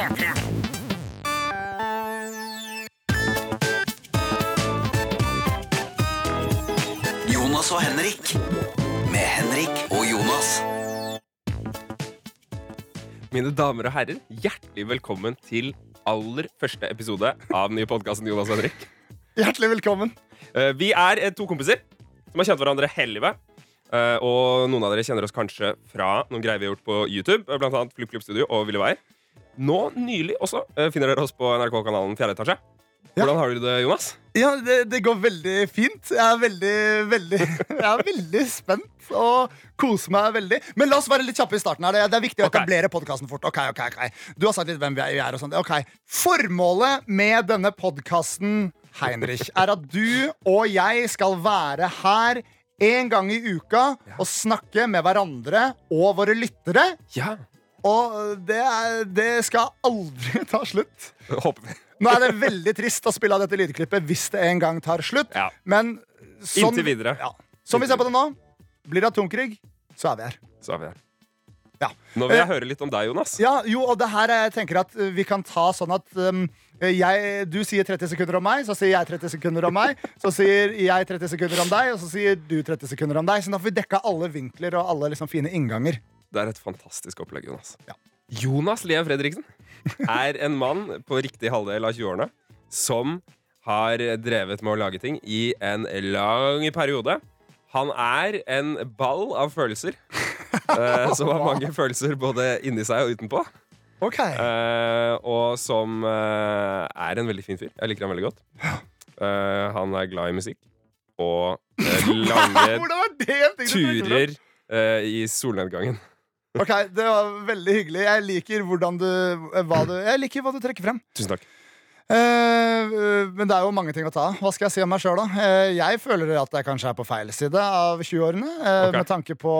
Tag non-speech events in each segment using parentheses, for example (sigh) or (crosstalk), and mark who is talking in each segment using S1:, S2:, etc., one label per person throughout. S1: P3.
S2: Jonas og Henrik. Med Henrik og Jonas.
S3: Mine damer og herrer, hjertelig velkommen til aller første episode av den nye podkasten Jonas og Henrik.
S4: Hjertelig velkommen.
S3: Eh, Vi er eh, to kompiser som har kjent hverandre hele livet. Eh, Og noen av dere kjenner oss kanskje fra noen greier vi har gjort på YouTube, eh, blant annet Flipp Flipp Studio og Ville Veier. Nå nylig også eh, finner dere oss på NRK-kanalen 4. etasje.
S4: Ja.
S3: Hvordan har du det, Jonas?
S4: Ja, det, det går veldig fint. Jeg er veldig, veldig, (laughs) jeg er veldig spent og koser meg veldig. Men la oss være litt kjappe i starten. her. Det er- Det er viktig å
S3: Ok.
S4: etablere podkasten fort. Ok, ok, ok. Du har sagt litt hvem vi er- vi er og sånt. Ok, Formålet med denne podkasten, Heinrich, er at du og jeg skal være her en gang i uka og snakke med hverandre og våre lyttere.
S3: Ja,
S4: Og det, er, det skal aldri (laughs) ta slutt.
S3: håper vi.
S4: Nå er det veldig trist å spille av dette lydklippet hvis det en gang tar slutt.
S3: Ja.
S4: Men sånn,
S3: Inntil videre.
S4: Ja. Som vi ser på det nå, blir det atomkrig, så er vi her.
S3: Så er vi her.
S4: Ja.
S3: Nå vil jeg
S4: Eh,
S3: høre litt om deg, Jonas.
S4: ja, jo, og det her jeg tenker at eh, vi kan ta sånn at um, jeg, du sier 30 sekunder om meg, så sier jeg 30 sekunder om meg, så sier jeg 30 sekunder om deg, og så sier du 30 sekunder om deg. Så da får vi dekka alle vinkler og alle liksom fine innganger.
S3: Det er et fantastisk opplegg, Jonas.
S4: Ja.
S3: Jonas Lea Fredriksen er en mann på riktig halvdel av 20-årene som har drevet med å lage ting i en lang periode. Han er en ball av
S4: (laughs)
S3: følelser. eh, som har mange følelser både inni seg og utenpå.
S4: Ok.
S3: Eh, og som eh, er en veldig fin fyr. Jeg liker han veldig godt. Eh, han er glad i musikk og eh, lange
S4: (laughs) (laughs) Hvordan var det en ting du tenkte på?
S3: turer eh, i solnedgangen.
S4: Ok, Det var veldig hyggelig. Jeg liker hvordan du, eh, hva du, jeg liker hva du trekker frem.
S3: Tusen takk.
S4: Eh, men det er jo mange ting å ta av. Hva skal jeg si om meg sjøl, da? Eh, jeg føler at jeg kanskje er på feil side av 20-årene, eh,
S3: Ok.
S4: med tanke på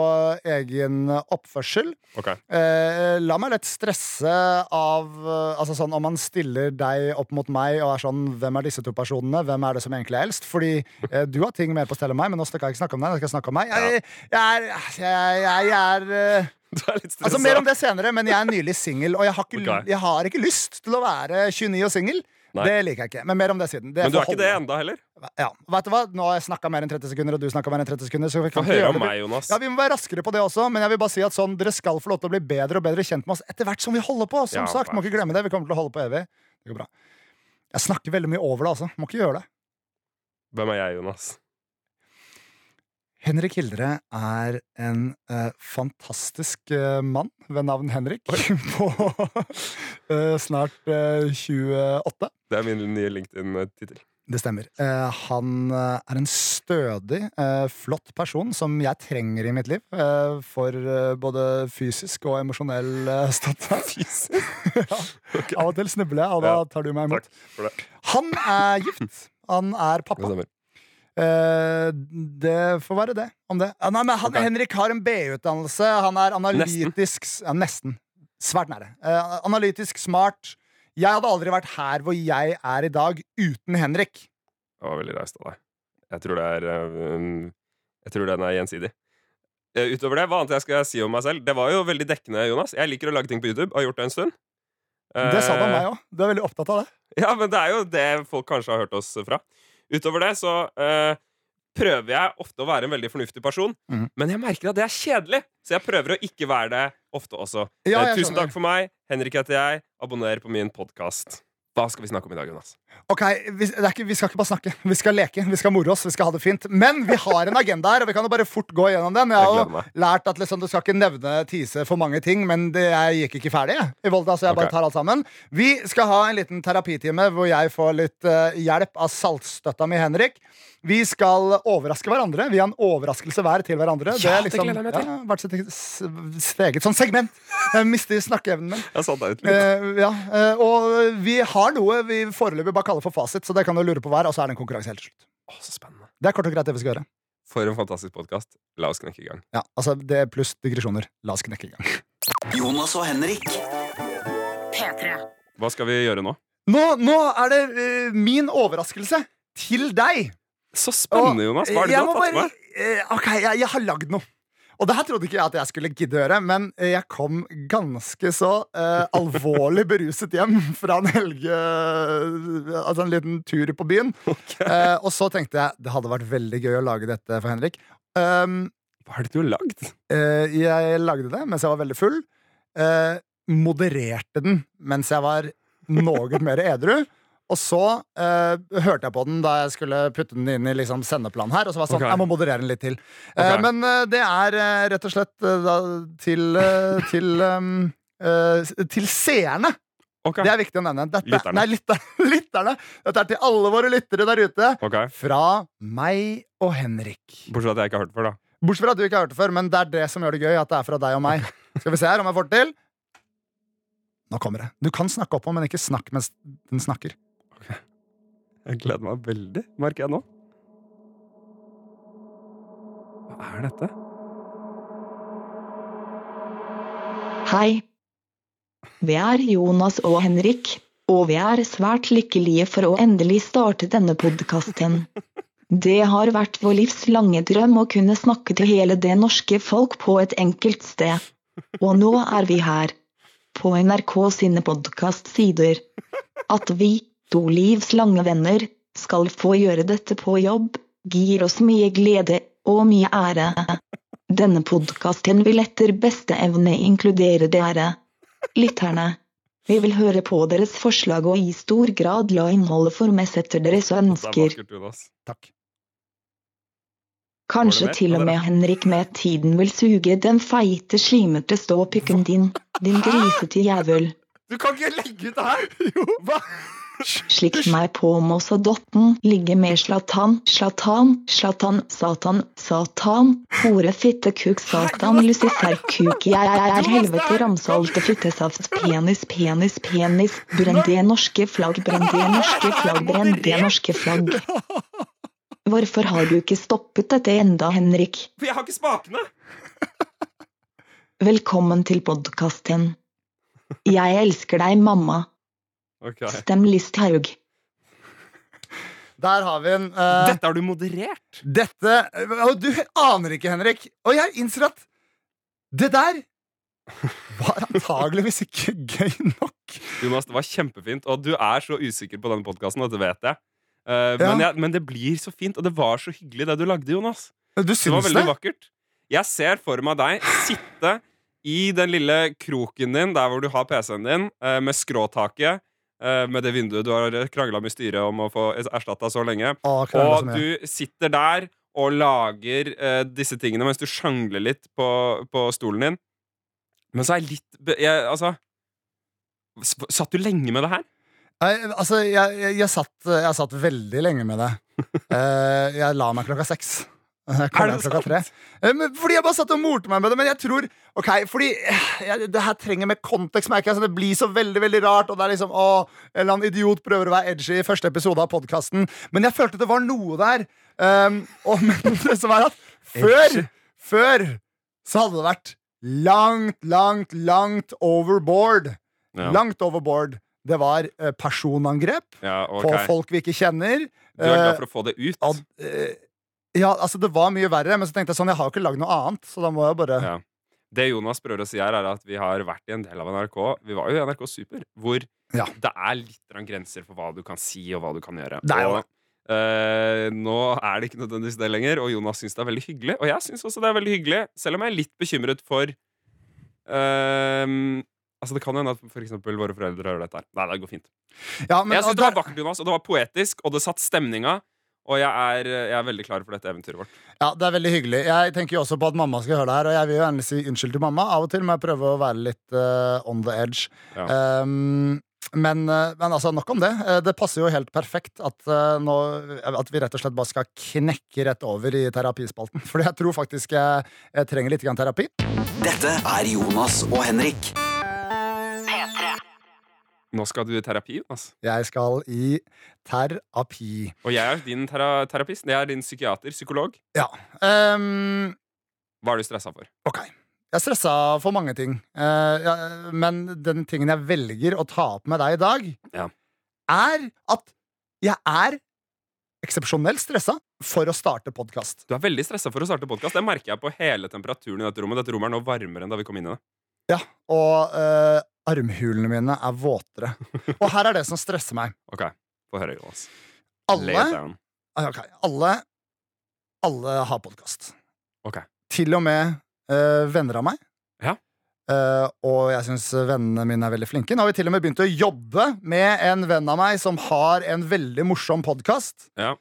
S4: egen oppførsel.
S3: Ok.
S4: Eh, la meg lett stresse av eh, Altså sånn Om man stiller deg opp mot meg og er sånn Hvem er disse to personene? Hvem er det som egentlig er eldst? Fordi eh, du har ting mer på stell enn meg, men nå skal jeg ikke snakke om deg. Nå skal jeg snakke om meg. Jeg, jeg er, jeg, jeg er eh,
S3: (laughs) Du er litt stressa.
S4: Altså Mer om det senere, men jeg er nylig singel, og jeg har, ikke,
S3: Ok.
S4: jeg har ikke lyst til å være 29 og singel.
S3: Nei.
S4: Det liker jeg ikke. Men mer om det siden. Det
S3: Men du er
S4: får
S3: ikke det
S4: holde.
S3: enda heller.
S4: Ja. Vet du hva? Nå har jeg snakka mer enn 30 sekunder, og du snakka mer enn 30 sekunder. Så vi
S3: Få
S4: kan ikke
S3: høre
S4: gjøre
S3: om
S4: det.
S3: meg, Jonas.
S4: Ja, Vi må være raskere på det også, men jeg vil bare si at sånn, dere skal få lov til å bli bedre og bedre kjent med oss etter hvert som vi holder på. Som
S3: Ja,
S4: sagt, Må
S3: vær
S4: ikke glemme det. Vi kommer til å holde på evig. Det går bra. Jeg snakker veldig mye over det, altså. Må ikke gjøre det.
S3: Hvem er jeg, Jonas?
S4: Henrik Hildre er en eh, fantastisk eh, mann ved navn Henrik (laughs) på eh, snart eh, 28.
S3: Det er min nye LinkedIn-tittel.
S4: Det stemmer. Eh, han eh, er en stødig, eh, flott person som jeg trenger i mitt liv. eh, for eh, både fysisk og emosjonell eh, støtte.
S3: (laughs)
S4: (laughs) ja.
S3: Ok.
S4: Av og til snubler jeg, og da
S3: Ja,
S4: tar du meg
S3: Takk
S4: imot.
S3: for det.
S4: Han er gift. Han er
S3: Det
S4: pappa.
S3: stemmer.
S4: Eh, det får være det om det. Ja, nei, men han,
S3: Ok.
S4: Henrik har en BU-utdannelse. Han er analytisk Nesten. Ja, nesten. Svært nære. Eh, analytisk smart. Jeg hadde aldri vært her hvor jeg er i dag uten Henrik.
S3: Det var veldig raust av deg. Jeg tror det er eh, Jeg tror den er gjensidig. Eh, Utover det, hva annet jeg skal si om meg selv? Det var jo veldig dekkende, Jonas. Jeg liker å lage ting på YouTube. Har gjort det en stund.
S4: Det sa du om
S3: Eh.
S4: meg òg. Du er veldig opptatt av det.
S3: (laughs) Ja, men det er jo det folk kanskje har hørt oss fra. Utover det så eh, prøver jeg ofte å være en veldig fornuftig person,
S4: Mhm.
S3: men jeg merker at det er kjedelig, så jeg prøver å ikke være det ofte også.
S4: Ja,
S3: Eh,
S4: jeg
S3: tusen
S4: skjønner.
S3: takk for meg. Henrik heter jeg. Abonner på min podkast. Hva skal vi snakke om i dag, Jonas?
S4: Ok, vi, det er ikke, vi skal ikke bare snakke. Vi skal leke, vi skal more oss, vi skal ha det fint. Men vi har en agenda her, og vi kan jo bare fort gå gjennom den. Jeg
S3: Jeg
S4: har
S3: gleder
S4: jo
S3: meg.
S4: lært at liksom, du skal ikke nevne tise for mange ting, men det, jeg gikk ikke ferdig. jeg, I Volda, så jeg
S3: Ok.
S4: bare tar alt sammen. Vi skal ha en liten terapitime hvor jeg får litt eh, hjelp av saltstøtta mi, Henrik. Vi skal overraske hverandre. Vi har en overraskelse hver til hverandre.
S3: Ja,
S4: er liksom-
S3: det gleder jeg meg til.
S4: Ja, hvert sitt eget s- s- eget sånn segment. Jeg mister snakkeevnen min.
S3: Jeg satte deg ut litt.
S4: Eh, ja, eh, og vi har noe vi foreløpig bare kaller for fasit, så det kan du lure på hver, og så er det en konkurranse helt til slutt.
S3: Å, så spennende.
S4: Det er kort og greit det vi skal gjøre.
S3: For en fantastisk podkast. La oss knekke i gang.
S4: Ja, altså det er Pluss digresjoner. La oss knekke i gang.
S2: Jonas og Henrik.
S1: P3.
S3: Hva skal vi gjøre nå?
S4: Nå, nå er det eh, min overraskelse til deg.
S3: Så
S4: Og
S3: spennende, Jonas. Hva har du
S4: jeg
S3: tatt
S4: må
S3: med?
S4: bare- eh, ok, jeg, jeg har lagd noe. Og det her trodde ikke jeg at jeg skulle gidde å gjøre, men eh, jeg kom ganske så
S3: (laughs)
S4: eh, alvorlig beruset hjem fra en helge Altså en liten tur på byen.
S3: (laughs)
S4: Eh, og så tenkte jeg det hadde vært veldig gøy å lage dette for Henrik. Um,
S3: Hva er det du har lagd?
S4: eh, jeg lagde det mens jeg var veldig full. eh, modererte den mens jeg var noe mer edru. Og så eh, hørte jeg på den da jeg skulle putte den inn i liksom, sendeplanen her. Og så var jeg sånn,
S3: Ok.
S4: jeg må moderere den litt til. Eh,
S3: Ok.
S4: men eh, det er eh, rett og slett eh, da, til, eh, til ehm, eh, s- til seerne.
S3: Ok.
S4: Det er viktig å nevne. Dette,
S3: Lytterne.
S4: Nei, lytter, (laughs) lytterne. Dette er til alle våre lyttere der ute.
S3: ok.
S4: Fra meg og Henrik.
S3: Bortsett fra at jeg ikke har hørt det før, da.
S4: Bortsett fra at du ikke har hørt det før, men det er det som gjør det gøy. At det er fra deg og meg. Skal vi se her om jeg får det til. Nå kommer det. Du kan snakke oppå, men ikke snakk mens den snakker.
S3: Jeg gleder meg veldig, merker jeg nå. Hva er dette?
S5: Hei. Vi er Jonas og Henrik, og vi er svært lykkelige for å endelig starte denne podkasten. Det har vært vår livs lange drøm å kunne snakke til hele det norske folk på et enkelt sted. Og nå er vi her. På NRK sine podkastsider. At vi, to livs lange venner, skal få gjøre dette på jobb, gir oss mye glede og mmye ære. Denne podkasten vil etter beste evne inkludere dere, lytterne. Vi vil høre på deres forslag og i stor grad la innholdet formes etter deres
S3: Det er
S5: ønsker.
S3: vakkert, Jonas.
S4: Takk.
S5: Kanskje
S3: Var det mer?
S5: til og
S3: Ja, det er
S5: med Henrik med tiden vil suge den feite, slimete ståpikken din, din grisete jævel.
S4: Du kan ikke legge ut det her! (laughs) Jo. Hva?
S5: Slikk meg på mås og dotten, ligge med slatan, slatan, slatan, satan, satan, hore, fitte, kuk, satan, lucifer, kuk, jeg er helvete, ramsalte, fittesaft, penis, penis, penis, brenn det norske flagg, brenn det norske flagg, brenn det norske
S3: (laughs)
S5: flagg. Hvorfor har du ikke stoppet dette enda, Henrik?
S3: For jeg har ikke spakene!
S5: Velkommen til podkasten. Jeg elsker deg, mamma.
S3: Ok.
S4: Eh.
S5: Stem Listhaug.
S4: Der har vi en eh,
S3: Dette har du moderert!
S4: Dette og Du aner ikke, Henrik. Og jeg innser at det der var antageligvis ikke gøy nok.
S3: Jonas, det var kjempefint, og du er så usikker på denne podkasten, og det vet jeg. Eh,
S4: Ja.
S3: men, jeg, men det blir så fint, og det var så hyggelig det du lagde, Jonas.
S4: Du
S3: Det var
S4: syns
S3: veldig
S4: det?
S3: vakkert. Jeg ser for meg deg sitte i den lille kroken din, der hvor du har PC-en din, eh, med skråtaket, eh, med det vinduet du har krangla med styret om å få erstatta så lenge.
S4: Å, krangler så
S3: Og
S4: mye.
S3: du sitter der og lager eh, disse tingene mens du sjangler litt på, på stolen din. Men så er jeg litt be- jeg, Altså s- Satt du lenge med det her?
S4: Nei, altså, jeg, jeg, jeg, satt, jeg satt veldig lenge med det.
S3: (laughs)
S4: Eh, jeg la meg klokka seks. Jeg kom
S3: Er det
S4: hjem klokka tre. Eh, men fordi jeg bare satt og morte meg med det. Men jeg tror Ok, fordi eh, jeg, det her trenger mer kontekst, merker jeg. Så det blir så veldig veldig rart. Og det er liksom, å, En eller annen idiot prøver å være edgy i første episode av podkasten. Men jeg følte det var noe der. Um, og, (laughs) men det som er at før, før så hadde det vært langt, langt, langt overboard. Langt overboard. Det var eh, personangrep
S3: ja ok.
S4: på folk vi ikke kjenner.
S3: Du er glad
S4: Eh,
S3: for å få det ut?
S4: og, eh, ja, altså Det var mye verre, men så tenkte jeg sånn, jeg har jo ikke lagd noe annet. Så da må jeg bare
S3: Ja. Det Jonas prøver å si her, er at vi har vært i en del av NRK. Vi var jo i NRK Super, hvor
S4: Ja.
S3: det er litt grann grenser for hva du kan si og hva du kan gjøre.
S4: Det er jo
S3: og, eh, nå er det ikke nødvendigvis det lenger, og Jonas syns det er veldig hyggelig. Og jeg syns også det er veldig hyggelig, selv om jeg er litt bekymret for eh, Altså Det kan hende at for eksempel våre foreldre hører dette. her Nei, det går fint.
S4: Ja, men-
S3: jeg syns
S4: og
S3: det var
S4: der-
S3: vakkert, Jonas, og det var poetisk, og det satt stemninga. Og jeg er, jeg er veldig klar for dette eventyret vårt.
S4: ja, det er veldig hyggelig. Jeg tenker jo også på at mamma skal høre det her, og jeg vil jo gjerne si unnskyld til mamma. Av og til må jeg prøve å være litt eh, on the edge.
S3: Ja.
S4: Um, men, eh, men altså, nok om det. Eh, Det passer jo helt perfekt at, eh, nå, at vi rett og slett bare skal knekke rett over i terapispalten. (laughs) For jeg tror faktisk jeg, jeg trenger litt grann terapi.
S2: Dette er Jonas og Henrik.
S1: P3.
S3: Nå skal du i terapi, Jonas.
S4: Jeg skal i terapi.
S3: Og jeg er din tera terapist. Jeg er din psykiater, psykolog.
S4: Ja. ehm,
S3: Hva er du stressa for?
S4: ok. Jeg er stressa for mange ting, eh, ja, men den tingen jeg velger å ta opp med deg i dag,
S3: Ja.
S4: er at jeg er eksepsjonelt stressa for å starte podkast.
S3: Du er veldig stressa for å starte podkast. Det merker jeg på hele temperaturen i dette rommet. Dette rommet er nå varmere enn da vi kom inn i det.
S4: Ja, og eh, armhulene mine er våtere. Og her er det som stresser meg.
S3: Ok, få høre, Jonas. Lay
S4: Alle,
S3: it down.
S4: Ah, ok, alle, alle har podkast.
S3: Ok.
S4: Til og med eh, venner av meg.
S3: Ja.
S4: Eh, og jeg syns vennene mine er veldig flinke. Nå har vi til og med begynt å jobbe med en venn av meg som har en veldig morsom podkast.
S3: Ja.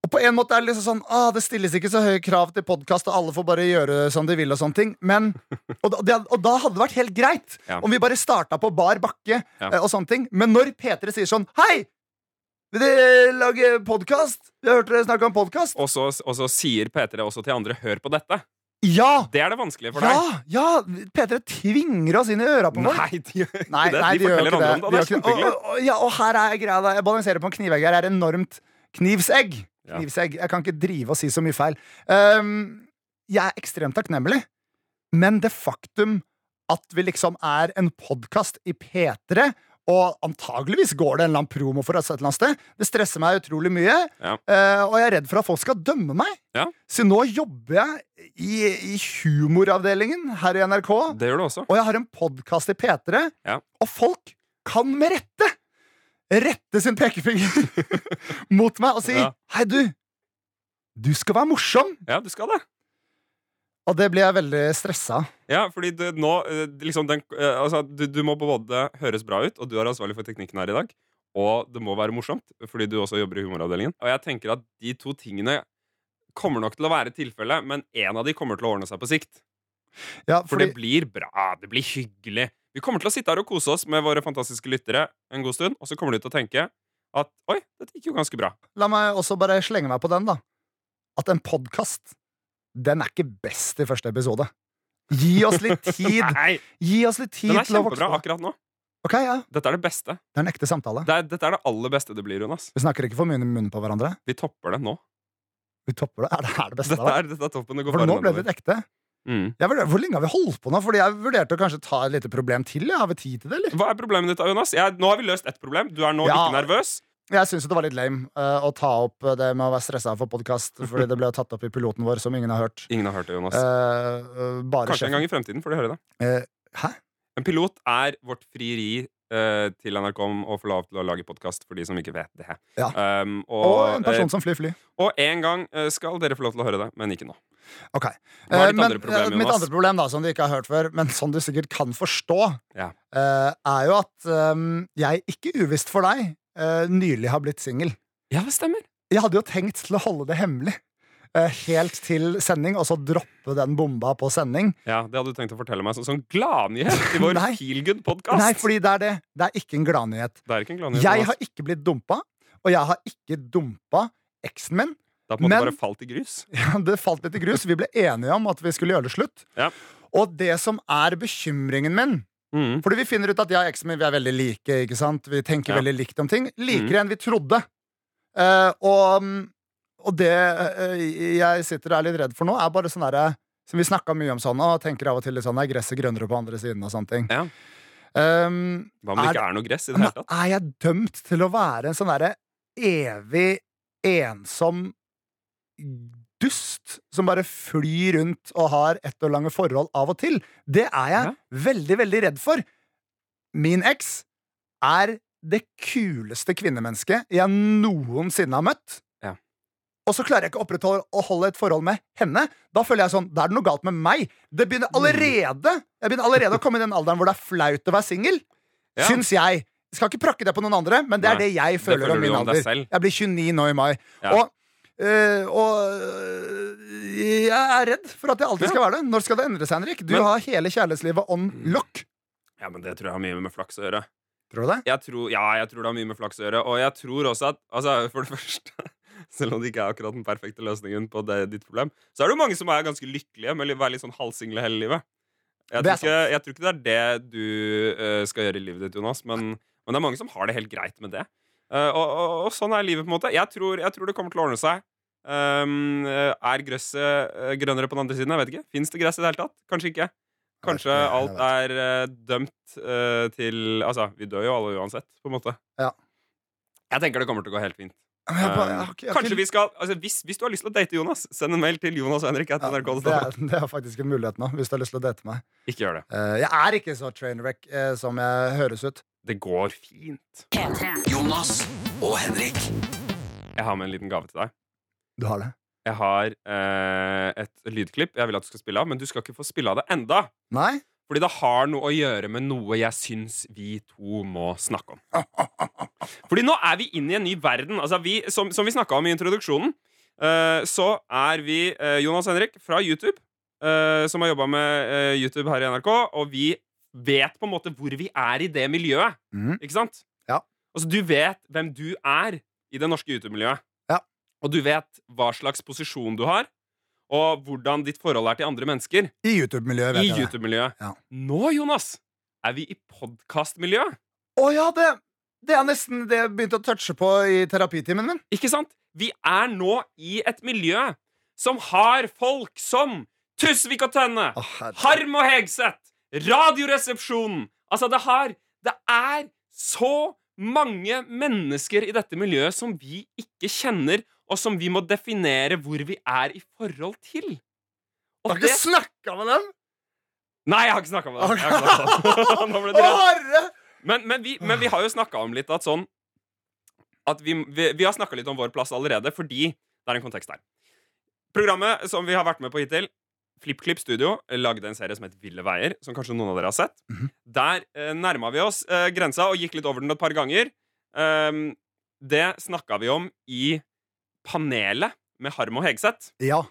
S4: Og på en måte er det liksom sånn ah, Det stilles ikke så høye krav til podkast, og alle får bare gjøre som de vil. Og sånne ting
S3: (laughs)
S4: Men, og, da- det, og da hadde det vært helt greit
S3: Ja.
S4: om vi bare starta på bar bakke.
S3: Ja.
S4: eh, Og sånne ting Men når P3 sier sånn Hei! Vil dere lage podkast? Vi har hørt dere snakke om podkast.
S3: Og så og så sier P3 også til andre 'hør på dette'.
S4: Ja!
S3: Det er det vanskelige for
S4: Ja!
S3: deg.
S4: ja P3 tvinger oss inn i øra på folk.
S3: Nei, de gjør ikke
S4: (laughs) Nei,
S3: det.
S4: nei,
S3: de,
S4: de gjør
S3: forteller
S4: ikke
S3: andre
S4: det.
S3: om det. Det er
S4: De gjør ikke det.
S3: kjempehyggelig.
S4: Og, og, og, ja, og her er greia da. Jeg balanserer på en knivegg her. Jeg er enormt knivsegg.
S3: Ja.
S4: knivsegg. Jeg kan ikke drive og si så mye feil. Ehm, jeg er ekstremt takknemlig, men det faktum at vi liksom er en podkast i P3 og antageligvis går det en eller annen promo for oss et eller annet sted. Det stresser meg utrolig mye,
S3: Ja.
S4: eh, og jeg er redd for at folk skal dømme meg.
S3: Ja.
S4: Så nå jobber jeg i, i humoravdelingen her i NRK.
S3: Det gjør du også.
S4: Og jeg har en podkast i P3,
S3: Ja.
S4: og folk kan med rette rette sin pekefinger (laughs) mot meg og si
S3: Ja.
S4: 'Hei, du. Du skal være morsom.'
S3: Ja, du skal det.
S4: Og det blir jeg veldig stressa av.
S3: Ja, fordi det, nå eh, liksom den, eh, altså, du, du må både høres bra ut, og du er ansvarlig for teknikken her i dag. Og det må være morsomt, fordi du også jobber i humoravdelingen. Og jeg tenker at de to tingene kommer nok til å være tilfellet, men én av de kommer til å ordne seg på sikt.
S4: Ja,
S3: For
S4: fordi,
S3: det blir bra. Ah, Det blir hyggelig. Vi kommer til å sitte her og kose oss med våre fantastiske lyttere en god stund, og så kommer de til å tenke at oi, dette gikk jo ganske bra.
S4: la meg også bare slenge meg på den, da. At en podkast, den er ikke best i første episode. Gi oss litt
S3: (laughs)
S4: tid.
S3: Nei,
S4: Gi oss litt tid
S3: Den er
S4: til å vokse.
S3: kjempebra
S4: på.
S3: akkurat nå.
S4: Ok, ja.
S3: Dette er det beste.
S4: Det er en ekte samtale.
S3: Det er, dette er det aller beste det blir, Jonas.
S4: Vi snakker ikke for mye i munnen på hverandre.
S3: Vi topper det nå.
S4: Vi topper det. Er det her det beste?
S3: Dette
S4: da?
S3: er, dette er toppen. Det går
S4: For
S3: bare
S4: nå ble
S3: nedover.
S4: det litt ekte.
S3: Mm.
S4: Jeg vurder, hvor lenge har vi holdt på nå? Fordi jeg vurderte å kanskje ta et lite problem til. Jeg har vi tid til det, eller?
S3: Hva er problemet ditt, Jonas? Jeg, nå har vi løst ett problem. Du er nå
S4: Ja.
S3: ikke nervøs.
S4: Jeg syns det var litt lame eh, å ta opp eh, det med å være stressa for podkast, fordi det ble jo tatt opp i piloten vår, som ingen har hørt.
S3: Ingen har hørt det, Jonas.
S4: Eh, eh, bare
S3: Kanskje en gang i fremtiden får de høre det.
S4: Eh, hæ?
S3: En pilot er vårt frieri eh, til NRK om å få lov til å lage podkast for de som ikke vet det.
S4: Ja.
S3: Um, og,
S4: Og en person som flyr fly.
S3: eh, og en gang eh, skal dere få lov til å høre det, men ikke nå.
S4: Ok.
S3: Hva er ditt
S4: Eh, men,
S3: andre problem,
S4: eh, mitt
S3: Jonas?
S4: andre problem, da, som du ikke har hørt før, men som du sikkert kan forstå,
S3: Ja.
S4: eh, er jo at eh, jeg, ikke uvisst for deg, eh, nylig har blitt singel.
S3: Ja, det stemmer.
S4: Jeg hadde jo tenkt til å holde det hemmelig eh, helt til sending, og så droppe den bomba på sending.
S3: Ja, Det hadde du tenkt å fortelle meg som sånn gladnyhet i vår
S4: (laughs) Nei.
S3: Feelgood-podkast.
S4: Nei, fordi det er det. Det er ikke en gladnyhet.
S3: Det er ikke en gladnyhet.
S4: Jeg
S3: Jonas.
S4: har ikke blitt dumpa, og jeg har ikke dumpa eksen min. (laughs)
S3: Det har på en måte
S4: men-
S3: bare falt i grus.
S4: Ja, Det falt litt i grus. Vi ble enige om at vi skulle gjøre det slutt.
S3: Ja.
S4: Og det som er bekymringen min
S3: Mm.
S4: Fordi vi finner ut at jeg og eksen min vi er veldig like. ikke sant? Vi tenker
S3: Ja. Mm.
S4: veldig likt om ting. Likere enn vi trodde. Eh, og, og det eh, jeg sitter og er litt redd for nå, er bare sånn derre Som vi snakka mye om sånn, og tenker av og til litt sånn Er gresset grønnere på andre siden? og sånne ting.
S3: Ja.
S4: Um,
S3: Hva om det
S4: Er-
S3: ikke er noe gress i det
S4: Men
S3: hele tatt?
S4: er jeg dømt til å være en sånn derre evig ensom dust som bare flyr rundt og har ett år lange forhold av og til? Det er jeg
S3: Ja.
S4: veldig, veldig redd for. Min eks er det kuleste kvinnemennesket jeg noensinne har møtt.
S3: Ja.
S4: Og så klarer jeg ikke å opprettholde å holde et forhold med henne. Da føler jeg sånn, da er det noe galt med meg. Det
S3: Mm.
S4: begynner allerede, jeg begynner allerede å komme i den alderen hvor det er flaut å være singel
S3: Ja.
S4: syns jeg. Skal ikke prakke det på noen andre, men det er
S3: Nei,
S4: det jeg føler,
S3: føler du
S4: om min
S3: om deg
S4: alder.
S3: selv.
S4: Jeg blir 29 nå i mai.
S3: Ja.
S4: Og, øh, og øh, jeg er redd for at jeg alltid skal være det. Når skal det endre seg, Henrik? Du
S3: Men-
S4: har hele kjærlighetslivet on lock.
S3: Ja, men Det tror jeg har mye med flaks å gjøre.
S4: Tror du det?
S3: jeg tror, ja, jeg tror det har mye med flaks å gjøre. Og jeg tror også at altså, For det (laughs) første, selv om det ikke er akkurat den perfekte løsningen på det, ditt problem, så er det jo mange som er ganske lykkelige med å være litt sånn halvsingle hele livet. Jeg
S4: Det
S3: tror,
S4: er
S3: ikke, jeg tror ikke det er det du eh, skal gjøre i livet ditt, Jonas, men, men det er mange som har det helt greit med det. Eh, og, og, og sånn er livet, på en måte. Jeg tror, jeg tror det kommer til å ordne seg. Um, eh, er gresset eh, grønnere på den andre siden? Jeg vet ikke. Fins det gress i det hele tatt? Kanskje ikke. Kanskje
S4: Jeg vet ikke, jeg
S3: alt er eh, dømt eh, til Altså, vi dør jo alle uansett, på en måte.
S4: Ja.
S3: Jeg tenker det kommer til å gå helt fint. Ehm,
S4: Men jeg bare- jeg har ikke- jeg har
S3: Kanskje
S4: ikke-
S3: vi skal, altså hvis, hvis du har lyst til å date Jonas, send en mail til Jonas og Henrik. at
S4: Ja,
S3: NRK.no.
S4: det, er, det er faktisk en mulighet nå, hvis du har lyst til å date meg.
S3: Ikke gjør det.
S4: Eh, jeg er ikke så trainwreck eh, som jeg høres ut.
S3: Det går fint.
S1: P3.
S2: Jonas og Henrik.
S3: Jeg har med en liten gave til deg.
S4: Du har det?
S3: Jeg har eh, et lydklipp jeg vil at du skal spille av, men du skal ikke få spille av det enda.
S4: Nei?
S3: Fordi det har noe å gjøre med noe jeg syns vi to må snakke om. Fordi nå er vi inne i en ny verden. Altså vi, som, som vi snakka om i introduksjonen, eh, så er vi eh, Jonas Henrik fra YouTube, eh, som har jobba med eh, YouTube her i NRK, og vi vet på en måte hvor vi er i det miljøet.
S4: Mhm.
S3: Ikke sant?
S4: Ja.
S3: Altså, du vet hvem du er i det norske YouTube-miljøet.
S4: Ja.
S3: Og du vet hva slags posisjon du har, og hvordan ditt forhold er til andre mennesker.
S4: I YouTube-miljøet, vet
S3: I
S4: jeg det.
S3: YouTube-miljøet.
S4: Ja.
S3: Nå, Jonas, er vi i podkastmiljøet.
S4: Å ja, det, det er nesten det jeg begynte å touche på i terapitimen min.
S3: Ikke sant? Vi er nå i et miljø som har folk som Tusvik og Tønne,
S4: Å, herre-
S3: Harm og Hegseth, Radioresepsjonen Altså, det har Det er så mange mennesker i dette miljøet som vi ikke kjenner, og som vi må definere hvor vi er i forhold til.
S4: Jeg
S3: Og
S4: har
S3: det
S4: ikke snakka med dem!
S3: Nei, jeg har ikke
S4: (laughs)
S3: snakka med deg.
S4: Ok.
S3: Jeg har ikke snakket med deg. Nå ble
S4: Å,
S3: det (laughs) redd.
S4: herre!
S3: Men, men, vi, men vi har jo snakka om litt at sånn At vi, vi, vi har snakka litt om vår plass allerede, fordi det er en kontekst der. Programmet som vi har vært med på hittil, FlippKlipp Studio, lagde en serie som het Ville veier, som kanskje noen av dere har sett. Der eh, nærma vi oss eh, grensa og gikk litt over den et par ganger. Ehm, det snakka vi om i panelet med Harm og Hegseth.
S4: Ja.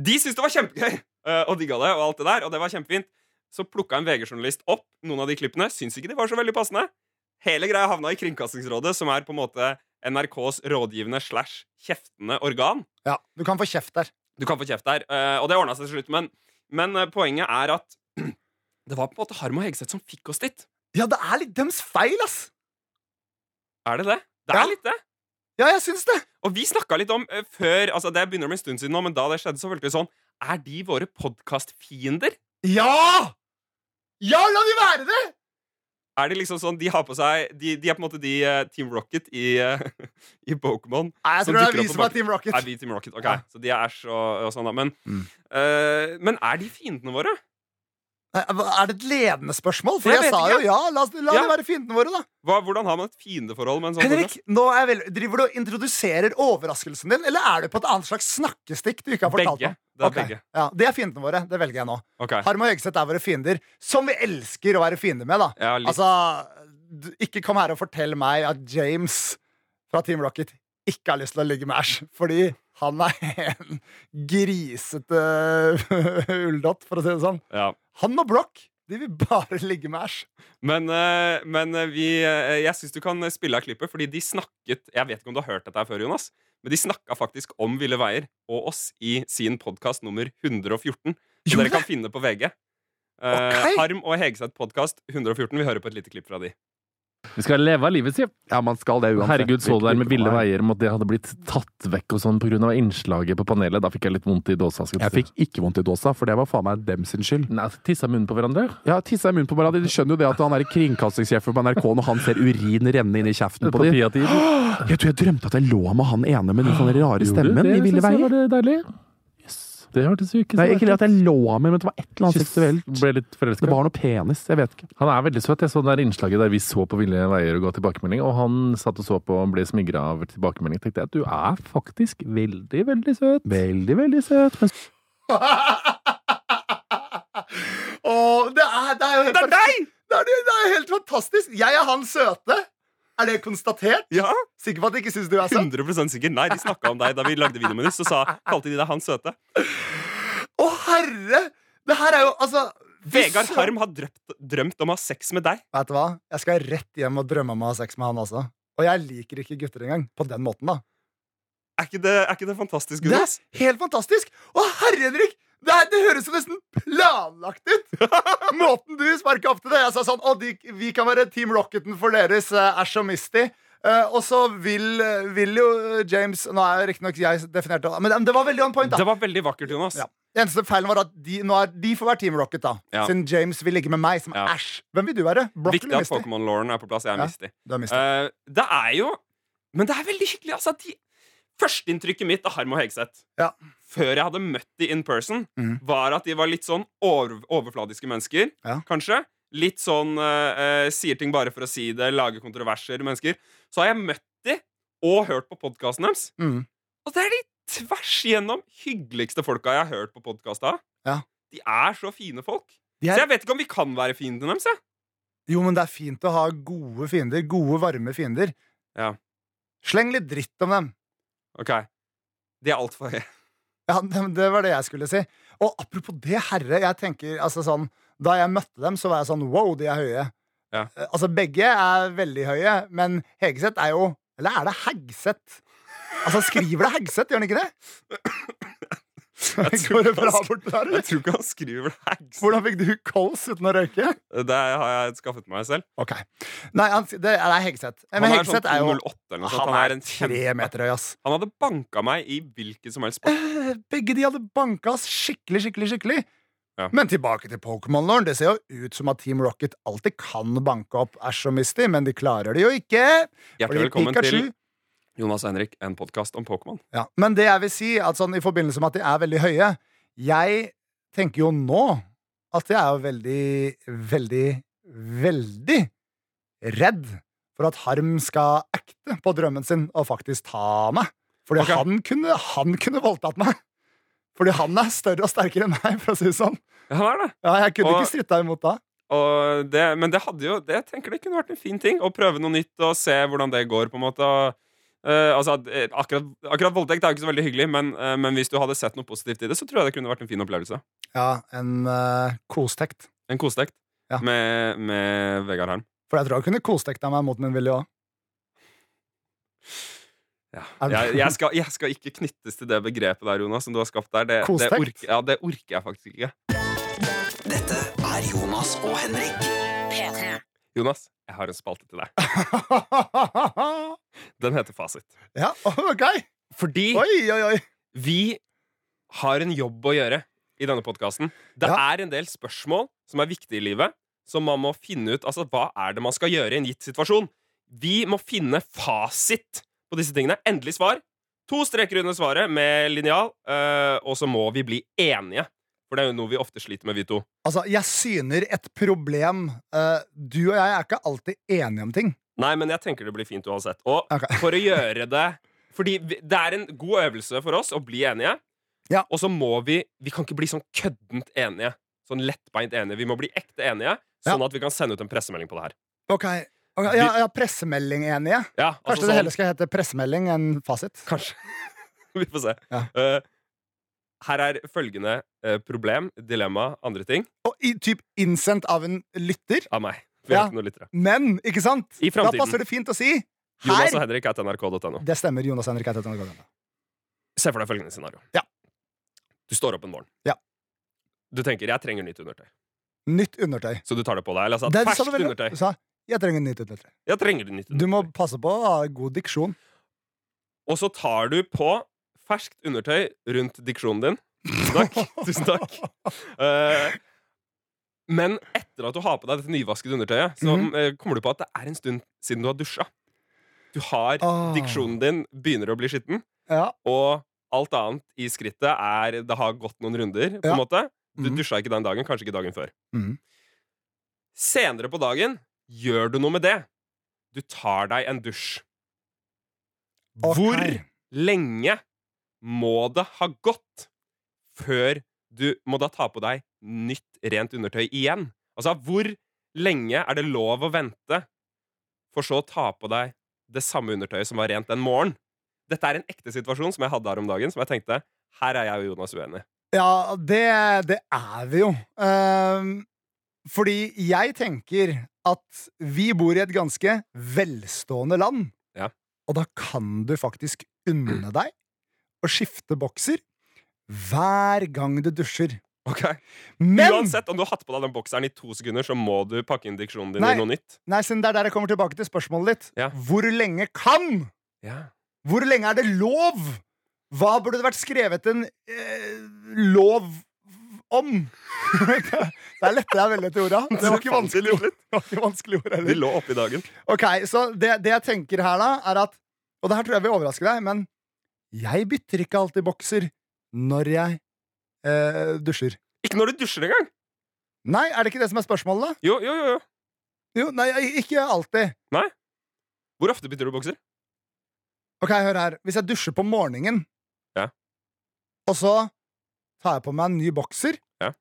S3: De syntes det var kjempegøy eh, og digga det, og alt det der, og det var kjempefint. Så plukka en VG-journalist opp noen av de klippene. Syns ikke de var så veldig passende. Hele greia havna i Kringkastingsrådet, som er på en måte NRKs rådgivende slash kjeftende organ.
S4: ja. Du kan få kjeft der.
S3: Du kan få kjeft der, eh, og det ordna seg til slutt, men, men eh, poenget er at (clears throat) det var på en måte Harm og Hegseth som fikk oss dit.
S4: Ja, det er litt dems feil, ass!
S3: Er det det? Det er
S4: Ja.
S3: litt det.
S4: Ja, jeg syns det.
S3: Og vi snakka litt om eh, før altså Det begynner å bli en stund siden nå, men da det skjedde, så følte vi sånn Er de våre podkastfiender?
S4: Ja! Ja, la de være det!
S3: Er det liksom sånn, De har på seg De, de er på en måte de eh, Team Rocket i, eh, (laughs) i Pokémon.
S4: Nei, jeg
S3: Som
S4: tror det
S3: dukker
S4: er vi
S3: opp på
S4: som er Team Rocket.
S3: Er vi Team Rocket? Ok,
S4: Ja.
S3: Så de er Ash og, og sånn, da. Men,
S4: Mm.
S3: eh, men er de fiendene våre?
S4: Nei, Er det et ledende spørsmål? For
S3: Jeg
S4: jeg,
S3: vet
S4: sa
S3: ikke.
S4: jo ja. La, oss- la
S3: Ja.
S4: det være fiendene våre, da.
S3: Hva, hvordan har man et fiendeforhold med en sånn
S4: Henrik, nå er jeg vel, driver du og introduserer overraskelsen din, eller er du på et annet slags snakkestikk du ikke har
S3: person?
S4: fortalt
S3: Begge.
S4: om?
S3: Det er
S4: Ok.
S3: begge.
S4: Ja, det er fiendene våre. Det velger jeg nå.
S3: Ok.
S4: Harm og Hegseth er våre fiender, som vi elsker å være fiender med. da
S3: Ja, litt.
S4: Altså, du- Ikke kom her og fortell meg at James fra Team Rocket ikke har lyst til å ligge med Ash, fordi han er (laughs) en grisete (laughs) ulldott, for å si det sånn.
S3: ja.
S4: Han og Broch de vil bare ligge med Ash.
S3: Men, eh, men eh, vi eh, Jeg syns du kan spille av klippet, fordi de snakket Jeg vet ikke om du har hørt dette her før, Jonas, men de snakka faktisk om Ville Veier og oss i sin podkast nummer 114. Som
S4: Gjorde
S3: dere kan finne på VG. Eh,
S4: Ok.
S3: Harm og Hegseth podkast 114. Vi hører på et lite klipp fra de.
S6: Vi skal leve av livet, sier jeg.
S7: Ja, man skal det uansett.
S6: Herregud, så du der med
S7: Hvilken
S6: ville
S7: vei.
S6: veier om at det hadde blitt tatt vekk og sånn pga. innslaget på panelet? Da fikk jeg litt vondt i dåsa. skal
S7: Jeg
S6: si.
S7: fikk ikke vondt i dåsa, for det var faen meg dem sin skyld.
S6: Nei, altså, Tissa munnen på hverandre?
S7: Ja, tissa i munnen på hverandre. De skjønner jo det at han er kringkastingssjefen på NRK når han ser urin renne inn i kjeften på
S6: På
S7: dem.
S6: tida-tiden?
S7: Jeg tror jeg drømte at jeg lå med han ene med den sånne rare stemmen i Ville
S6: Var
S7: veier.
S6: det deilig? Det hørtes jo ikke
S7: Nei, ikke det at jeg lå med, men det var et eller annet seksuelt.
S6: Ble litt
S7: Det
S6: forelska.
S7: var noe penis. Jeg vet ikke.
S6: Han er veldig søt. Jeg så det der innslaget der vi så på Ville veier og ga tilbakemelding, og han satt og så på og ble smigra av tilbakemelding. Tenkte jeg at du er faktisk veldig, veldig søt.
S7: Veldig, veldig søt. Men
S4: Åh, det er, det er jo helt
S3: Det er deg!
S4: Det er, det er helt fantastisk. Jeg er han søte. Er det konstatert?
S3: Ja,
S4: Sikker på at de ikke syns du er søt?
S3: 100 sikker. Nei, de snakka om deg da vi lagde videoen din. Så sa, kalte de deg han søte.
S4: Å, herre! Det her er jo altså hvis-
S3: Vegard Harm har drømt, drømt om å ha sex med deg.
S4: Vet du hva? Jeg skal rett hjem og drømme om å ha sex med han også. Og jeg liker ikke gutter engang. På den måten, da.
S3: Er ikke det, er ikke det fantastisk,
S4: Det
S3: Jonas?
S4: er helt fantastisk! Å, herre Henrik! Det, er, det høres jo nesten
S3: (laughs)
S4: planlagt ut! Måten du sparka opp til det. Jeg sa sånn Å, de, vi kan være Team Rocketen for deres eh, Ash og Misty. Eh, og så vil, vil jo eh, James Nå er riktignok jeg definert det, men det var veldig on point, da.
S3: Det var veldig vakkert, Jonas.
S4: Ja. Eneste feilen var at de, nå er, de får være Team Rocket, da.
S3: Ja.
S4: Siden James vil ligge med meg, som
S3: Ja.
S4: Ash. Hvem vil du være? Brock
S3: Viktig at
S4: eller
S3: Eh,
S4: Misty?
S3: Pokémon-lauren er på plass. Jeg er
S4: Ja.
S3: Misty.
S4: Du er Misty.
S3: Eh, det er jo Men det er veldig hyggelig. altså de, Førsteinntrykket mitt av Harm og Hegseth
S4: Ja.
S3: før jeg hadde møtt de in person,
S4: Mhm.
S3: var at de var litt sånn over, overfladiske mennesker,
S4: Ja.
S3: kanskje. Litt sånn eh, eh, sier ting bare for å si det, lager kontroverser mennesker. Så har jeg møtt de og hørt på podkasten deres,
S4: Mm.
S3: og det er de tvers igjennom hyggeligste folka jeg har hørt på podkast av.
S4: Ja.
S3: De er så fine folk.
S4: De
S3: Så
S4: er,
S3: jeg vet ikke om vi kan være fiendene deres. jeg.
S4: jo, men det er fint å ha gode fiender. Gode, varme fiender.
S3: Ja.
S4: Sleng litt dritt om dem.
S3: Ok, De er (laughs) altfor høye.
S4: Ja, (laughs) det, det var det jeg skulle si. Og apropos det, herre, jeg tenker altså sånn Da jeg møtte dem, så var jeg sånn wow, de er høye.
S3: Ja.
S4: Eh, Altså, begge er veldig høye, men Hegeseth er jo Eller er det Hegseth? Altså, skriver det Hegseth, gjør han ikke det? (laughs) Går det bra borte der,
S3: Jeg
S4: eller?
S3: tror ikke han skriver det. Hegseth.
S4: Hvordan fikk du kols uten å røyke?
S3: Det har jeg skaffet meg selv.
S4: Ok. Nei, han, det er Hegseth. Eh,
S3: Han
S4: Men
S3: er sånn
S4: Hegseth er jo
S3: 08 eller noe sånt.
S4: Han er
S3: en
S4: tre
S3: kjempe-
S4: meter høy, ass.
S3: Han hadde banka meg i hvilken som helst sport.
S4: Eh, Begge de hadde banka oss skikkelig, skikkelig, skikkelig.
S3: Ja.
S4: Men tilbake til Pokémon-loren. Det ser jo ut som at Team Rocket alltid kan banke opp Ash og Misty, men de klarer det jo ikke.
S3: Hjertelig
S4: fordi
S3: velkommen til Jonas og Henrik, en podkast om Pokémon.
S4: ja. Men det jeg vil si, at sånn, i forbindelse med at de er veldig høye Jeg tenker jo nå at jeg er jo veldig, veldig, veldig redd for at Harm skal acte på drømmen sin og faktisk ta meg. Fordi
S3: Ok.
S4: han kunne, han kunne voldtatt meg. Fordi han er større og sterkere enn meg, for å si det sånn.
S3: Ja, han er det.
S4: Ja, jeg kunne
S3: Og-
S4: ikke stritta imot da.
S3: Og det, men det hadde jo det, jeg tenker det kunne vært en fin ting å prøve noe nytt og se hvordan det går. på en måte og, eh, altså, at, eh, akkurat, akkurat voldtekt er jo ikke så veldig hyggelig, men, eh, men hvis du hadde sett noe positivt i det, så tror jeg det kunne vært en fin opplevelse.
S4: Ja, en eh, kostekt.
S3: En kostekt
S4: Ja.
S3: med, med Vegard Harm.
S4: For jeg tror han kunne kostekta meg mot min vilje òg.
S3: Ja.
S4: Er det-
S3: Jeg, jeg, skal, jeg skal ikke knyttes til det begrepet der, Jonas, som du har skapt der. Det, det,
S4: Kostekt?
S3: orker, ja, det orker jeg faktisk ikke.
S2: Dette er Jonas og Henrik.
S1: P3.
S3: Jonas, jeg har en spalte til
S4: (laughs)
S3: deg. Den heter Fasit.
S4: (laughs) ja, OK!
S3: Fordi
S4: Oi, oi, oi.
S3: vi har en jobb å gjøre i denne podkasten. Det
S4: Ja.
S3: er en del spørsmål som er viktige i livet, som man må finne ut Altså, hva er det man skal gjøre i en gitt situasjon? Vi må finne fasit på disse tingene. Endelig svar. To streker under svaret med linjal, eh, og så må vi bli enige. For det er jo noe vi ofte sliter med, vi to.
S4: Altså, jeg syner et problem. Eh, du og jeg er ikke alltid enige om ting.
S3: Nei, men jeg tenker det blir fint uansett. Og
S4: Ok. (laughs)
S3: for å gjøre det Fordi vi- det er en god øvelse for oss å bli enige.
S4: Ja.
S3: Og så må vi Vi kan ikke bli sånn køddent enige. Sånn lettbeint enige. Vi må bli ekte enige,
S4: Ja.
S3: sånn at vi kan sende ut en pressemelding på det her.
S4: Ok, ok, ja, ja, Pressemelding enige.
S3: Ja,
S4: Kanskje
S3: altså
S4: det
S3: sånn-
S4: heller skal hete pressemelding enn fasit.
S3: (laughs) Kanskje. vi får se.
S4: Ja.
S3: Eh, her er følgende eh, problem, dilemma, andre ting
S4: Og i, typ innsendt av en lytter.
S3: av meg. Vi har
S4: Ja.
S3: ikke noen lyttere.
S4: Men, ikke sant?
S3: I
S4: Da
S3: fremtiden.
S4: passer det fint å si
S3: Jonas og
S4: her.
S3: Henrik at nrk.no.
S4: Det stemmer. Jonas Henrik heter han.
S3: Se for deg følgende scenario.
S4: Ja.
S3: Du står opp en morgen.
S4: Ja.
S3: Du tenker 'jeg trenger nytt undertøy'.
S4: Nytt undertøy.
S3: Så du tar det på deg? Eller altså,
S4: Det sa
S3: ferskt
S4: du veldig-
S3: undertøy.
S4: du sa, jeg trenger nytt undertøy.
S3: Jeg trenger det nytt
S4: Du må
S3: undertøy.
S4: passe på å ha god diksjon.
S3: Og så tar du på ferskt undertøy rundt diksjonen din. Tusen (laughs)
S4: (laughs)
S3: takk. Tusen takk. Eh, men etter at du har på deg dette nyvaskede undertøyet, så
S4: Mhm.
S3: eh, kommer du på at det er en stund siden du har dusja. Du har
S4: Ah.
S3: Diksjonen din begynner å bli skitten,
S4: Ja.
S3: og alt annet i skrittet er Det har gått noen runder, på en
S4: Ja.
S3: måte. Du
S4: Mhm.
S3: dusja ikke den dagen, kanskje ikke dagen før.
S4: Mhm.
S3: Senere på dagen gjør du noe med det. Du tar deg en dusj.
S4: Ok.
S3: Hvor lenge må det ha gått før du må da ta på deg nytt rent undertøy igjen? Altså, hvor lenge er det lov å vente for så å ta på deg det samme undertøyet som var rent den morgenen? Dette er en ekte situasjon som jeg hadde her om dagen, som jeg tenkte her er jeg og Jonas uenig.
S4: Ja, det, det er vi jo. Ehm, fordi jeg tenker at vi bor i et ganske velstående land.
S3: Ja.
S4: Og da kan du faktisk unne deg å skifte bokser hver gang du dusjer. Men
S3: Uansett om du har hatt på deg den bokseren i to sekunder, så må du pakke inn diksjonen din
S4: Nei.
S3: i noe nytt.
S4: Nei, siden det er der jeg kommer tilbake til spørsmålet ditt.
S3: Ja.
S4: Hvor lenge kan? Hvor lenge er det lov? Hva burde det vært skrevet en eh, lov om? (laughs) det er lette jeg veldig til orda. Det var ikke (laughs) vanskelig ord. Det var ikke vanskelig ord
S3: Vi
S4: heller.
S3: lå oppe i dagen.
S4: Ok, så det, det jeg tenker her da, er at Og det her tror jeg vil overraske deg, men jeg bytter ikke alltid bokser når jeg eh, dusjer.
S3: Ikke når du dusjer engang!
S4: Nei, er det ikke det som er spørsmålet? da?
S3: Jo, jo, jo, jo.
S4: Jo, nei, jeg- ikke alltid.
S3: Hvor ofte bytter du bokser?
S4: Ok, hør her. Hvis jeg dusjer på morgenen,
S3: Ja.
S4: og så tar jeg på meg en ny bokser,
S3: Ja.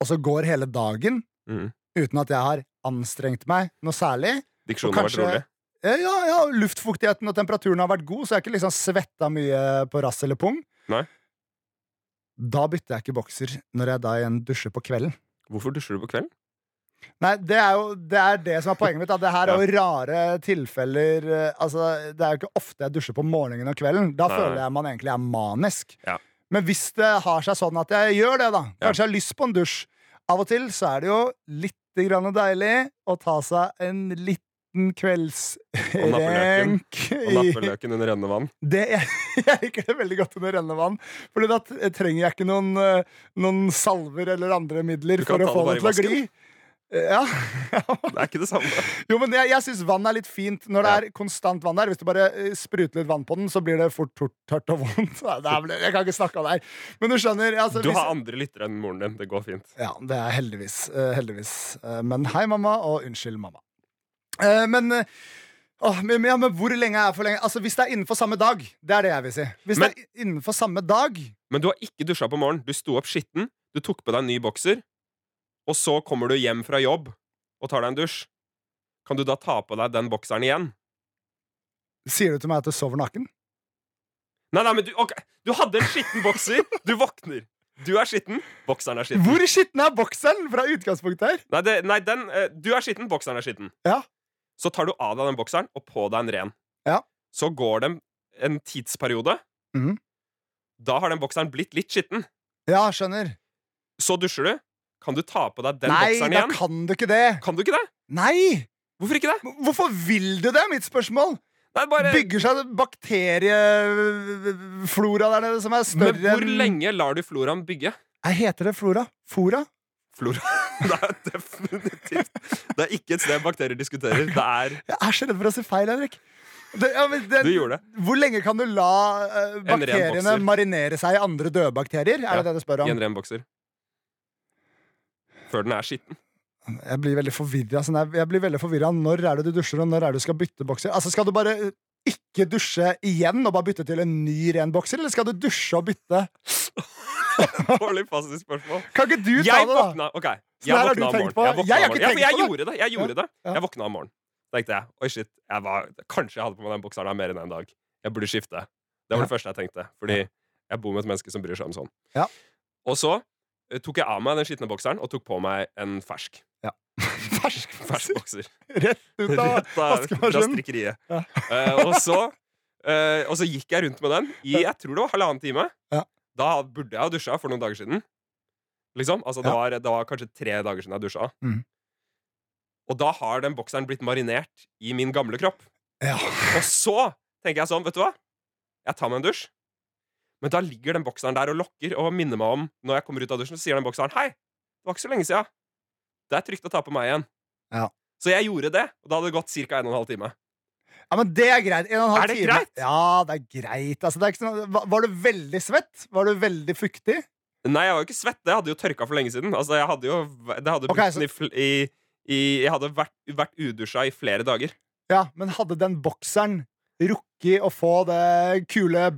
S4: og så går hele dagen
S3: Mhm.
S4: uten at jeg har anstrengt meg noe særlig
S3: Diksjonen
S4: Og
S3: har vært
S4: kanskje-
S3: rolig.
S4: Eh, Ja, ja, luftfuktigheten og temperaturen har vært god, så jeg har ikke liksom svetta mye på rass eller pung.
S3: Nei.
S4: Da bytter jeg ikke bokser når jeg da igjen dusjer på kvelden.
S3: Hvorfor dusjer du på kvelden?
S4: Nei, det er jo det, er det som er poenget mitt. Da. Det her
S3: Ja.
S4: er jo rare tilfeller eh, Altså, Det er jo ikke ofte jeg dusjer på morgenen og kvelden. Da
S3: Nei.
S4: føler jeg man egentlig er manisk.
S3: Ja.
S4: Men hvis det har seg sånn at jeg gjør det, da
S3: Ja.
S4: Kanskje jeg har lyst på en dusj. Av og til så er det jo litt grann deilig å ta seg en liten
S3: nappeløken.
S4: kveldsrenk
S3: Og nappeløken under rennende vann.
S4: det, jeg, (laughs) jeg liker det veldig godt under rennende vann. Fordi da t- trenger jeg ikke noen, eh, noen salver eller andre midler
S3: Du
S4: for
S3: kan
S4: å
S3: ta
S4: få
S3: det
S4: det til
S3: bare i
S4: å gli. Eh, Ja.
S3: (laughs) Det er ikke det samme.
S4: Jo, men jeg, jeg syns vann er litt fint når det
S3: Ja.
S4: er konstant vann der. Hvis du bare eh, spruter litt vann på den, så blir det fort tort, tørt og vondt. (laughs) Nei, det er vel- Jeg kan ikke snakke av deg. Men du skjønner. Altså,
S3: Du
S4: hvis-
S3: har andre lyttere enn moren din. Det går fint.
S4: ja, det er heldigvis. eh, heldigvis. Eh, men hei, mamma, og unnskyld, mamma. Eh, men eh, åh, men, men ja, men hvor lenge er for lenge? Altså, Hvis det er innenfor samme dag, det er det jeg vil si. Hvis
S3: Men-
S4: det er innenfor samme dag
S3: Men du har ikke dusja på morgenen. Du sto opp skitten, du tok på deg en ny bokser, og så kommer du hjem fra jobb og tar deg en dusj. Kan du da ta på deg den bokseren igjen?
S4: Sier du til meg at du sover naken?
S3: Nei, nei, men du, ok, du hadde en skitten bokser. Du våkner. Du er skitten. Bokseren er skitten.
S4: Hvor skitten er bokseren fra utgangspunktet her?
S3: Nei, det, nei den, eh, du er skitten. Bokseren er skitten.
S4: Ja.
S3: Så tar du av deg den bokseren og på deg en ren.
S4: Ja.
S3: Så går det en- en tidsperiode.
S4: Mhm.
S3: Da har den bokseren blitt litt skitten.
S4: Ja, skjønner.
S3: Så dusjer du. Kan du ta på deg den
S4: Nei,
S3: bokseren
S4: da
S3: igjen?
S4: kan du ikke det!
S3: Kan du ikke det?
S4: Nei!
S3: Hvorfor ikke det?
S4: Hvorfor vil du det, er mitt spørmål?
S3: Nei, bare,
S4: Bygger seg en bakterieflora der nede som er
S3: men
S4: større
S3: hvor lenge lar du floraen bygge?
S4: Jeg heter det flora. Fora.
S3: Flora? (laughs) Det er definitivt Det er ikke et sted bakterier diskuterer. Det er
S4: Jeg er så redd for å si feil, Henrik. Det, ja, men det,
S3: Du gjorde det.
S4: Hvor lenge kan du la eh,
S3: ren
S4: bakteriene
S3: bokser.
S4: marinere seg i andre døde bakterier? Er
S3: Ja,
S4: det det du spør
S3: i
S4: om?
S3: en ren bokser. Før den er
S4: (laughs)
S3: skitten.
S4: Jeg blir veldig forvirra. Sånn jeg, jeg blir veldig forvirra. Når er det du dusjer, og når er det du skal bytte bokser? Altså, Skal du bare eh, ikke dusje igjen og bare bytte til en ny ren bokser, eller skal du dusje og bytte?
S3: Dårlig passivt spørsmål.
S4: Kan ikke du ta
S3: Jeg
S4: det, da?
S3: våkna Ok,
S4: Så
S3: jeg
S4: her har
S3: våkna
S4: du
S3: om
S4: tenkt
S3: morgenen.
S4: på det.
S3: Jeg, våkna
S4: Jeg har
S3: om
S4: ikke
S3: morgenen. Ja,
S4: tenkt
S3: for jeg
S4: på det.
S3: gjorde det. Jeg gjorde det.
S4: ja.
S3: Jeg våkna om morgenen. Da tenkte jeg oi, shit, jeg var, kanskje jeg hadde på meg den bokseren her mer enn en dag. Jeg burde skifte. Det var det første jeg tenkte. Fordi jeg bor med et menneske som bryr seg om sånn.
S4: Ja.
S3: Og så eh, tok jeg av meg den skitne bokseren og tok på meg en fersk.
S4: Fersk
S3: (laughs)
S4: (laughs)
S3: Fersk bokser.
S4: Rett ut av
S3: Rett av- fra
S4: vaskemaskinen.
S3: strikkeriet.
S4: Ja.
S3: Eh, og, så, eh, og så gikk jeg rundt med den i jeg tror det var halvannen time.
S4: Ja.
S3: Da burde jeg ha dusja for noen dager siden. Liksom, altså det,
S4: Ja.
S3: var, det var kanskje tre dager siden jeg dusja.
S4: Mhm.
S3: Og da har den bokseren blitt marinert i min gamle kropp.
S4: Ja.
S3: Og så tenker jeg sånn, vet du hva? Jeg tar meg en dusj. Men da ligger den bokseren der og lokker og minner meg om Når jeg kommer ut av dusjen, så sier den bokseren Hei, det var ikke så lenge siden. Det er trygt å ta på meg igjen.
S4: Ja.
S3: Så jeg gjorde det, og da hadde det gått ca. 1 12 time.
S4: ja, men det er greit. En og en halv
S3: Er det
S4: time.
S3: greit?
S4: Ja, det er greit. Altså, det er ikke sånn, Va- var du veldig svett? Var du veldig fuktig?
S3: Nei, jeg var jo ikke svett. Det hadde jo tørka for lenge siden. Altså, jeg hadde jo det hadde
S4: Ok,
S3: brukt
S4: så-
S3: den i, fl- i, i Jeg hadde vært, vært udusja i flere dager.
S4: Ja, men hadde den bokseren rukket å få det kule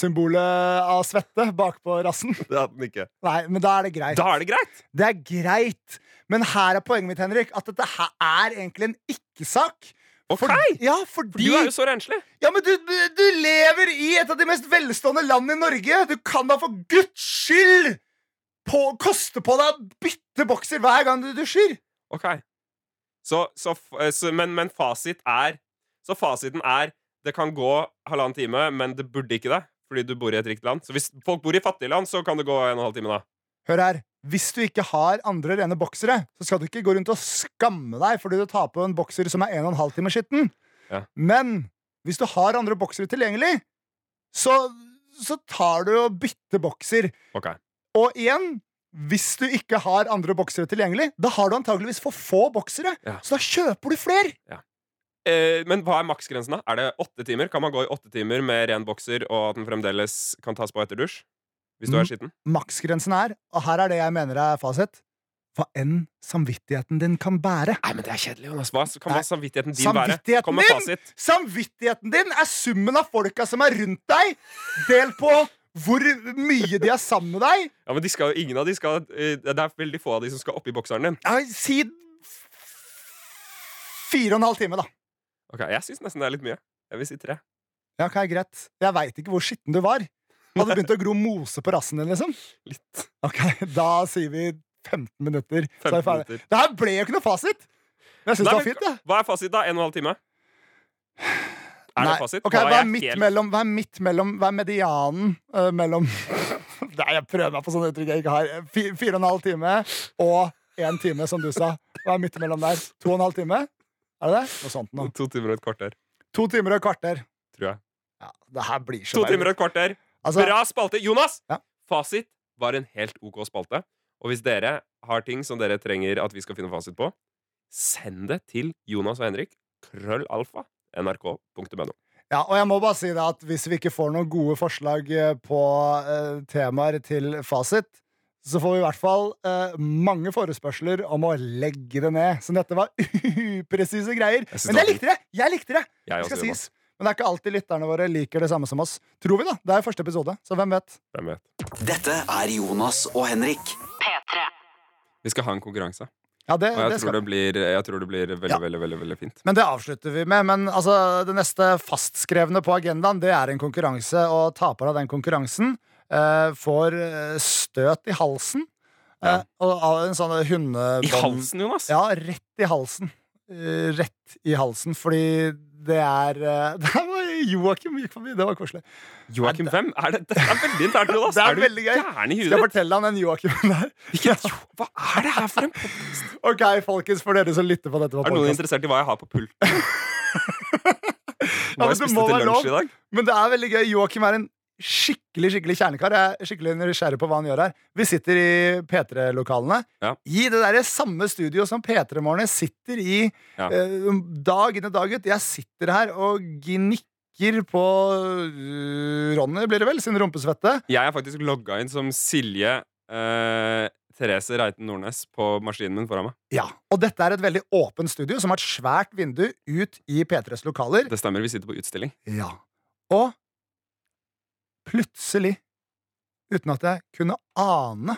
S4: Batman-symbolet av svette bakpå rassen? (laughs)
S3: Det hadde den ikke.
S4: Nei, men da er det greit.
S3: Da er det greit!
S4: Det er greit. Men her er poenget mitt, Henrik, at dette her er egentlig en ikke-sak.
S3: Ok,
S4: For- ja,
S3: For
S4: fordi
S3: du er jo så renslig.
S4: Ja, men du, du lever i et av de mest velstående landene i Norge. Du kan da for guds skyld på, koste på deg å bytte bokser hver gang du dusjer.
S3: Ok. Så, så, f- eh, så, men, men fasit er Så fasiten er det kan gå halvannen time, men det burde ikke det. Fordi du bor i et rikt land. Så hvis folk bor i fattige land, så kan det gå en og en halv time da.
S4: Hør her. Hvis du ikke har andre rene boksere, så skal du ikke gå rundt og skamme deg fordi du tar på en bokser som er en og en halv time skitten.
S3: Ja.
S4: Men hvis du har andre boksere tilgjengelig, så, så tar du og bytter bokser.
S3: Ok.
S4: Og igjen, hvis du ikke har andre boksere tilgjengelig, da har du antageligvis for få boksere,
S3: Ja.
S4: så da kjøper du flere.
S3: Ja. eh, men hva er maksgrensen, da? Er det åtte timer? Kan man gå i åtte timer med ren bokser, og at den fremdeles kan tas på etter dusj? Hvis du
S4: Mm.
S3: er skitten?
S4: Maksgrensen er, og her er det jeg mener er fasit, hva enn samvittigheten din kan bære.
S3: Nei, men det er kjedelig, Jonas. Hva kan
S4: Nei.
S3: hva samvittigheten din være?
S4: Samvittigheten
S3: Kom med
S4: din!
S3: fasit.
S4: Samvittigheten din er summen av folka som er rundt deg, delt på hvor mye de er sammen med deg.
S3: Ja, men de skal, jo- ingen av de skal eh, Det er veldig få av de som skal oppi bokseren din.
S4: Ja, si f- fire og en halv time, da.
S3: Ok, Jeg syns nesten det er litt mye. Jeg vil si tre.
S4: Ja, ok, greit. Jeg veit ikke hvor skitten du var. Hadde det begynt å gro mose på rassen din, liksom?
S3: Litt.
S4: Ok, Da sier vi 15 minutter. så er
S3: 15
S4: vi ferdig.
S3: minutter.
S4: Det her ble jo ikke noe fasit! Men jeg
S3: Nei,
S4: syns det var
S3: men
S4: fint, jeg.
S3: Hva er fasit, da? En og en halv time? Er
S4: Nei,
S3: det fasit?
S4: ok,
S3: Da
S4: hva, er
S3: jeg
S4: midt
S3: helt-
S4: mellom, hva er midt mellom Hva er medianen eh, mellom (laughs) Nei, jeg prøver meg på sånne uttrykk jeg ikke har. Fi- Fire og en halv time og én time, som du sa. Hva er midt mellom der? To og en halv time? Er det det? Noe sånt nå.
S3: To timer og et kvarter,
S4: To timer og et kvarter.
S3: tror jeg.
S4: Ja, det her blir så
S3: To timer og et kvarter.
S4: Altså,
S3: Bra spalte! Jonas!
S4: Ja.
S3: Fasit var en helt OK spalte. Og hvis dere har ting som dere trenger at vi skal finne fasit på, send det til Jonas og Henrik. Krøllalfa. nrk.no.
S4: Ja, og jeg må bare si det at hvis vi ikke får noen gode forslag eh, på eh, temaer til fasit, så får vi i hvert fall eh, mange forespørsler om å legge det ned. Så dette var (laughs) upresise greier.
S3: Jeg synes
S4: Men jeg
S3: det
S4: likte det! Jeg likte det!
S3: Jeg
S4: Det
S3: også,
S4: skal
S3: Jonas.
S4: sies. Men det er ikke alltid lytterne våre liker det samme som oss. Tror vi, da. Det er jo første episode, så hvem vet.
S3: Hvem vet?
S2: Dette er Jonas og Henrik.
S1: P3.
S3: Vi skal ha en konkurranse.
S4: Ja, det,
S3: Og jeg
S4: det skal
S3: tror det blir, jeg tror det blir veldig,
S4: Ja.
S3: veldig, veldig, veldig fint.
S4: Men det avslutter vi med. Men altså, det neste fastskrevne på agendaen, det er en konkurranse, og taperen av den konkurransen eh, får eh, støt i halsen.
S3: Ja.
S4: Eh, og av en sånn hundebånd
S3: I halsen, Jonas!
S4: Ja, rett i halsen. Eh, rett i halsen, fordi det er eh, (laughs) Der var Joakim gikk forbi, det var koselig.
S3: Joakim, hvem? Er det, dette er veldig internt, Jonas!
S4: (laughs) Det er
S3: du
S4: veldig gøy.
S3: gæren i huet?
S4: Skal jeg
S3: ditt?
S4: fortelle han den Joakimen der?
S3: Hvilken- Jo, Hva er det her for en
S4: Ok, folkens, for dere som lytter på dette på
S3: Er noen
S4: podcast.
S3: interessert i hva jeg har på (laughs) pulten?
S4: men
S3: Hva jeg
S4: det
S3: spiste
S4: må
S3: til
S4: være
S3: lunsj i
S4: lov.
S3: dag?
S4: Men det er veldig gøy. Joakim er en skikkelig skikkelig kjernekar. Jeg er skikkelig nysgjerrig på hva han gjør her. Vi sitter i P3-lokalene.
S3: Ja.
S4: I det der samme studio som P3-morgenen sitter i
S3: Ja.
S4: eh, dag inn og dag ut. Jeg sitter her og gnikker på øh, Ronny, blir det vel, sin rumpesvette.
S3: Jeg er faktisk logga inn som Silje eh, Therese Reiten Nordnes på maskinen min foran meg.
S4: Ja. Og dette er et veldig åpent studio som har et svært vindu ut i P3s lokaler.
S3: Det stemmer, vi sitter på utstilling.
S4: Ja. Og plutselig, uten at jeg kunne ane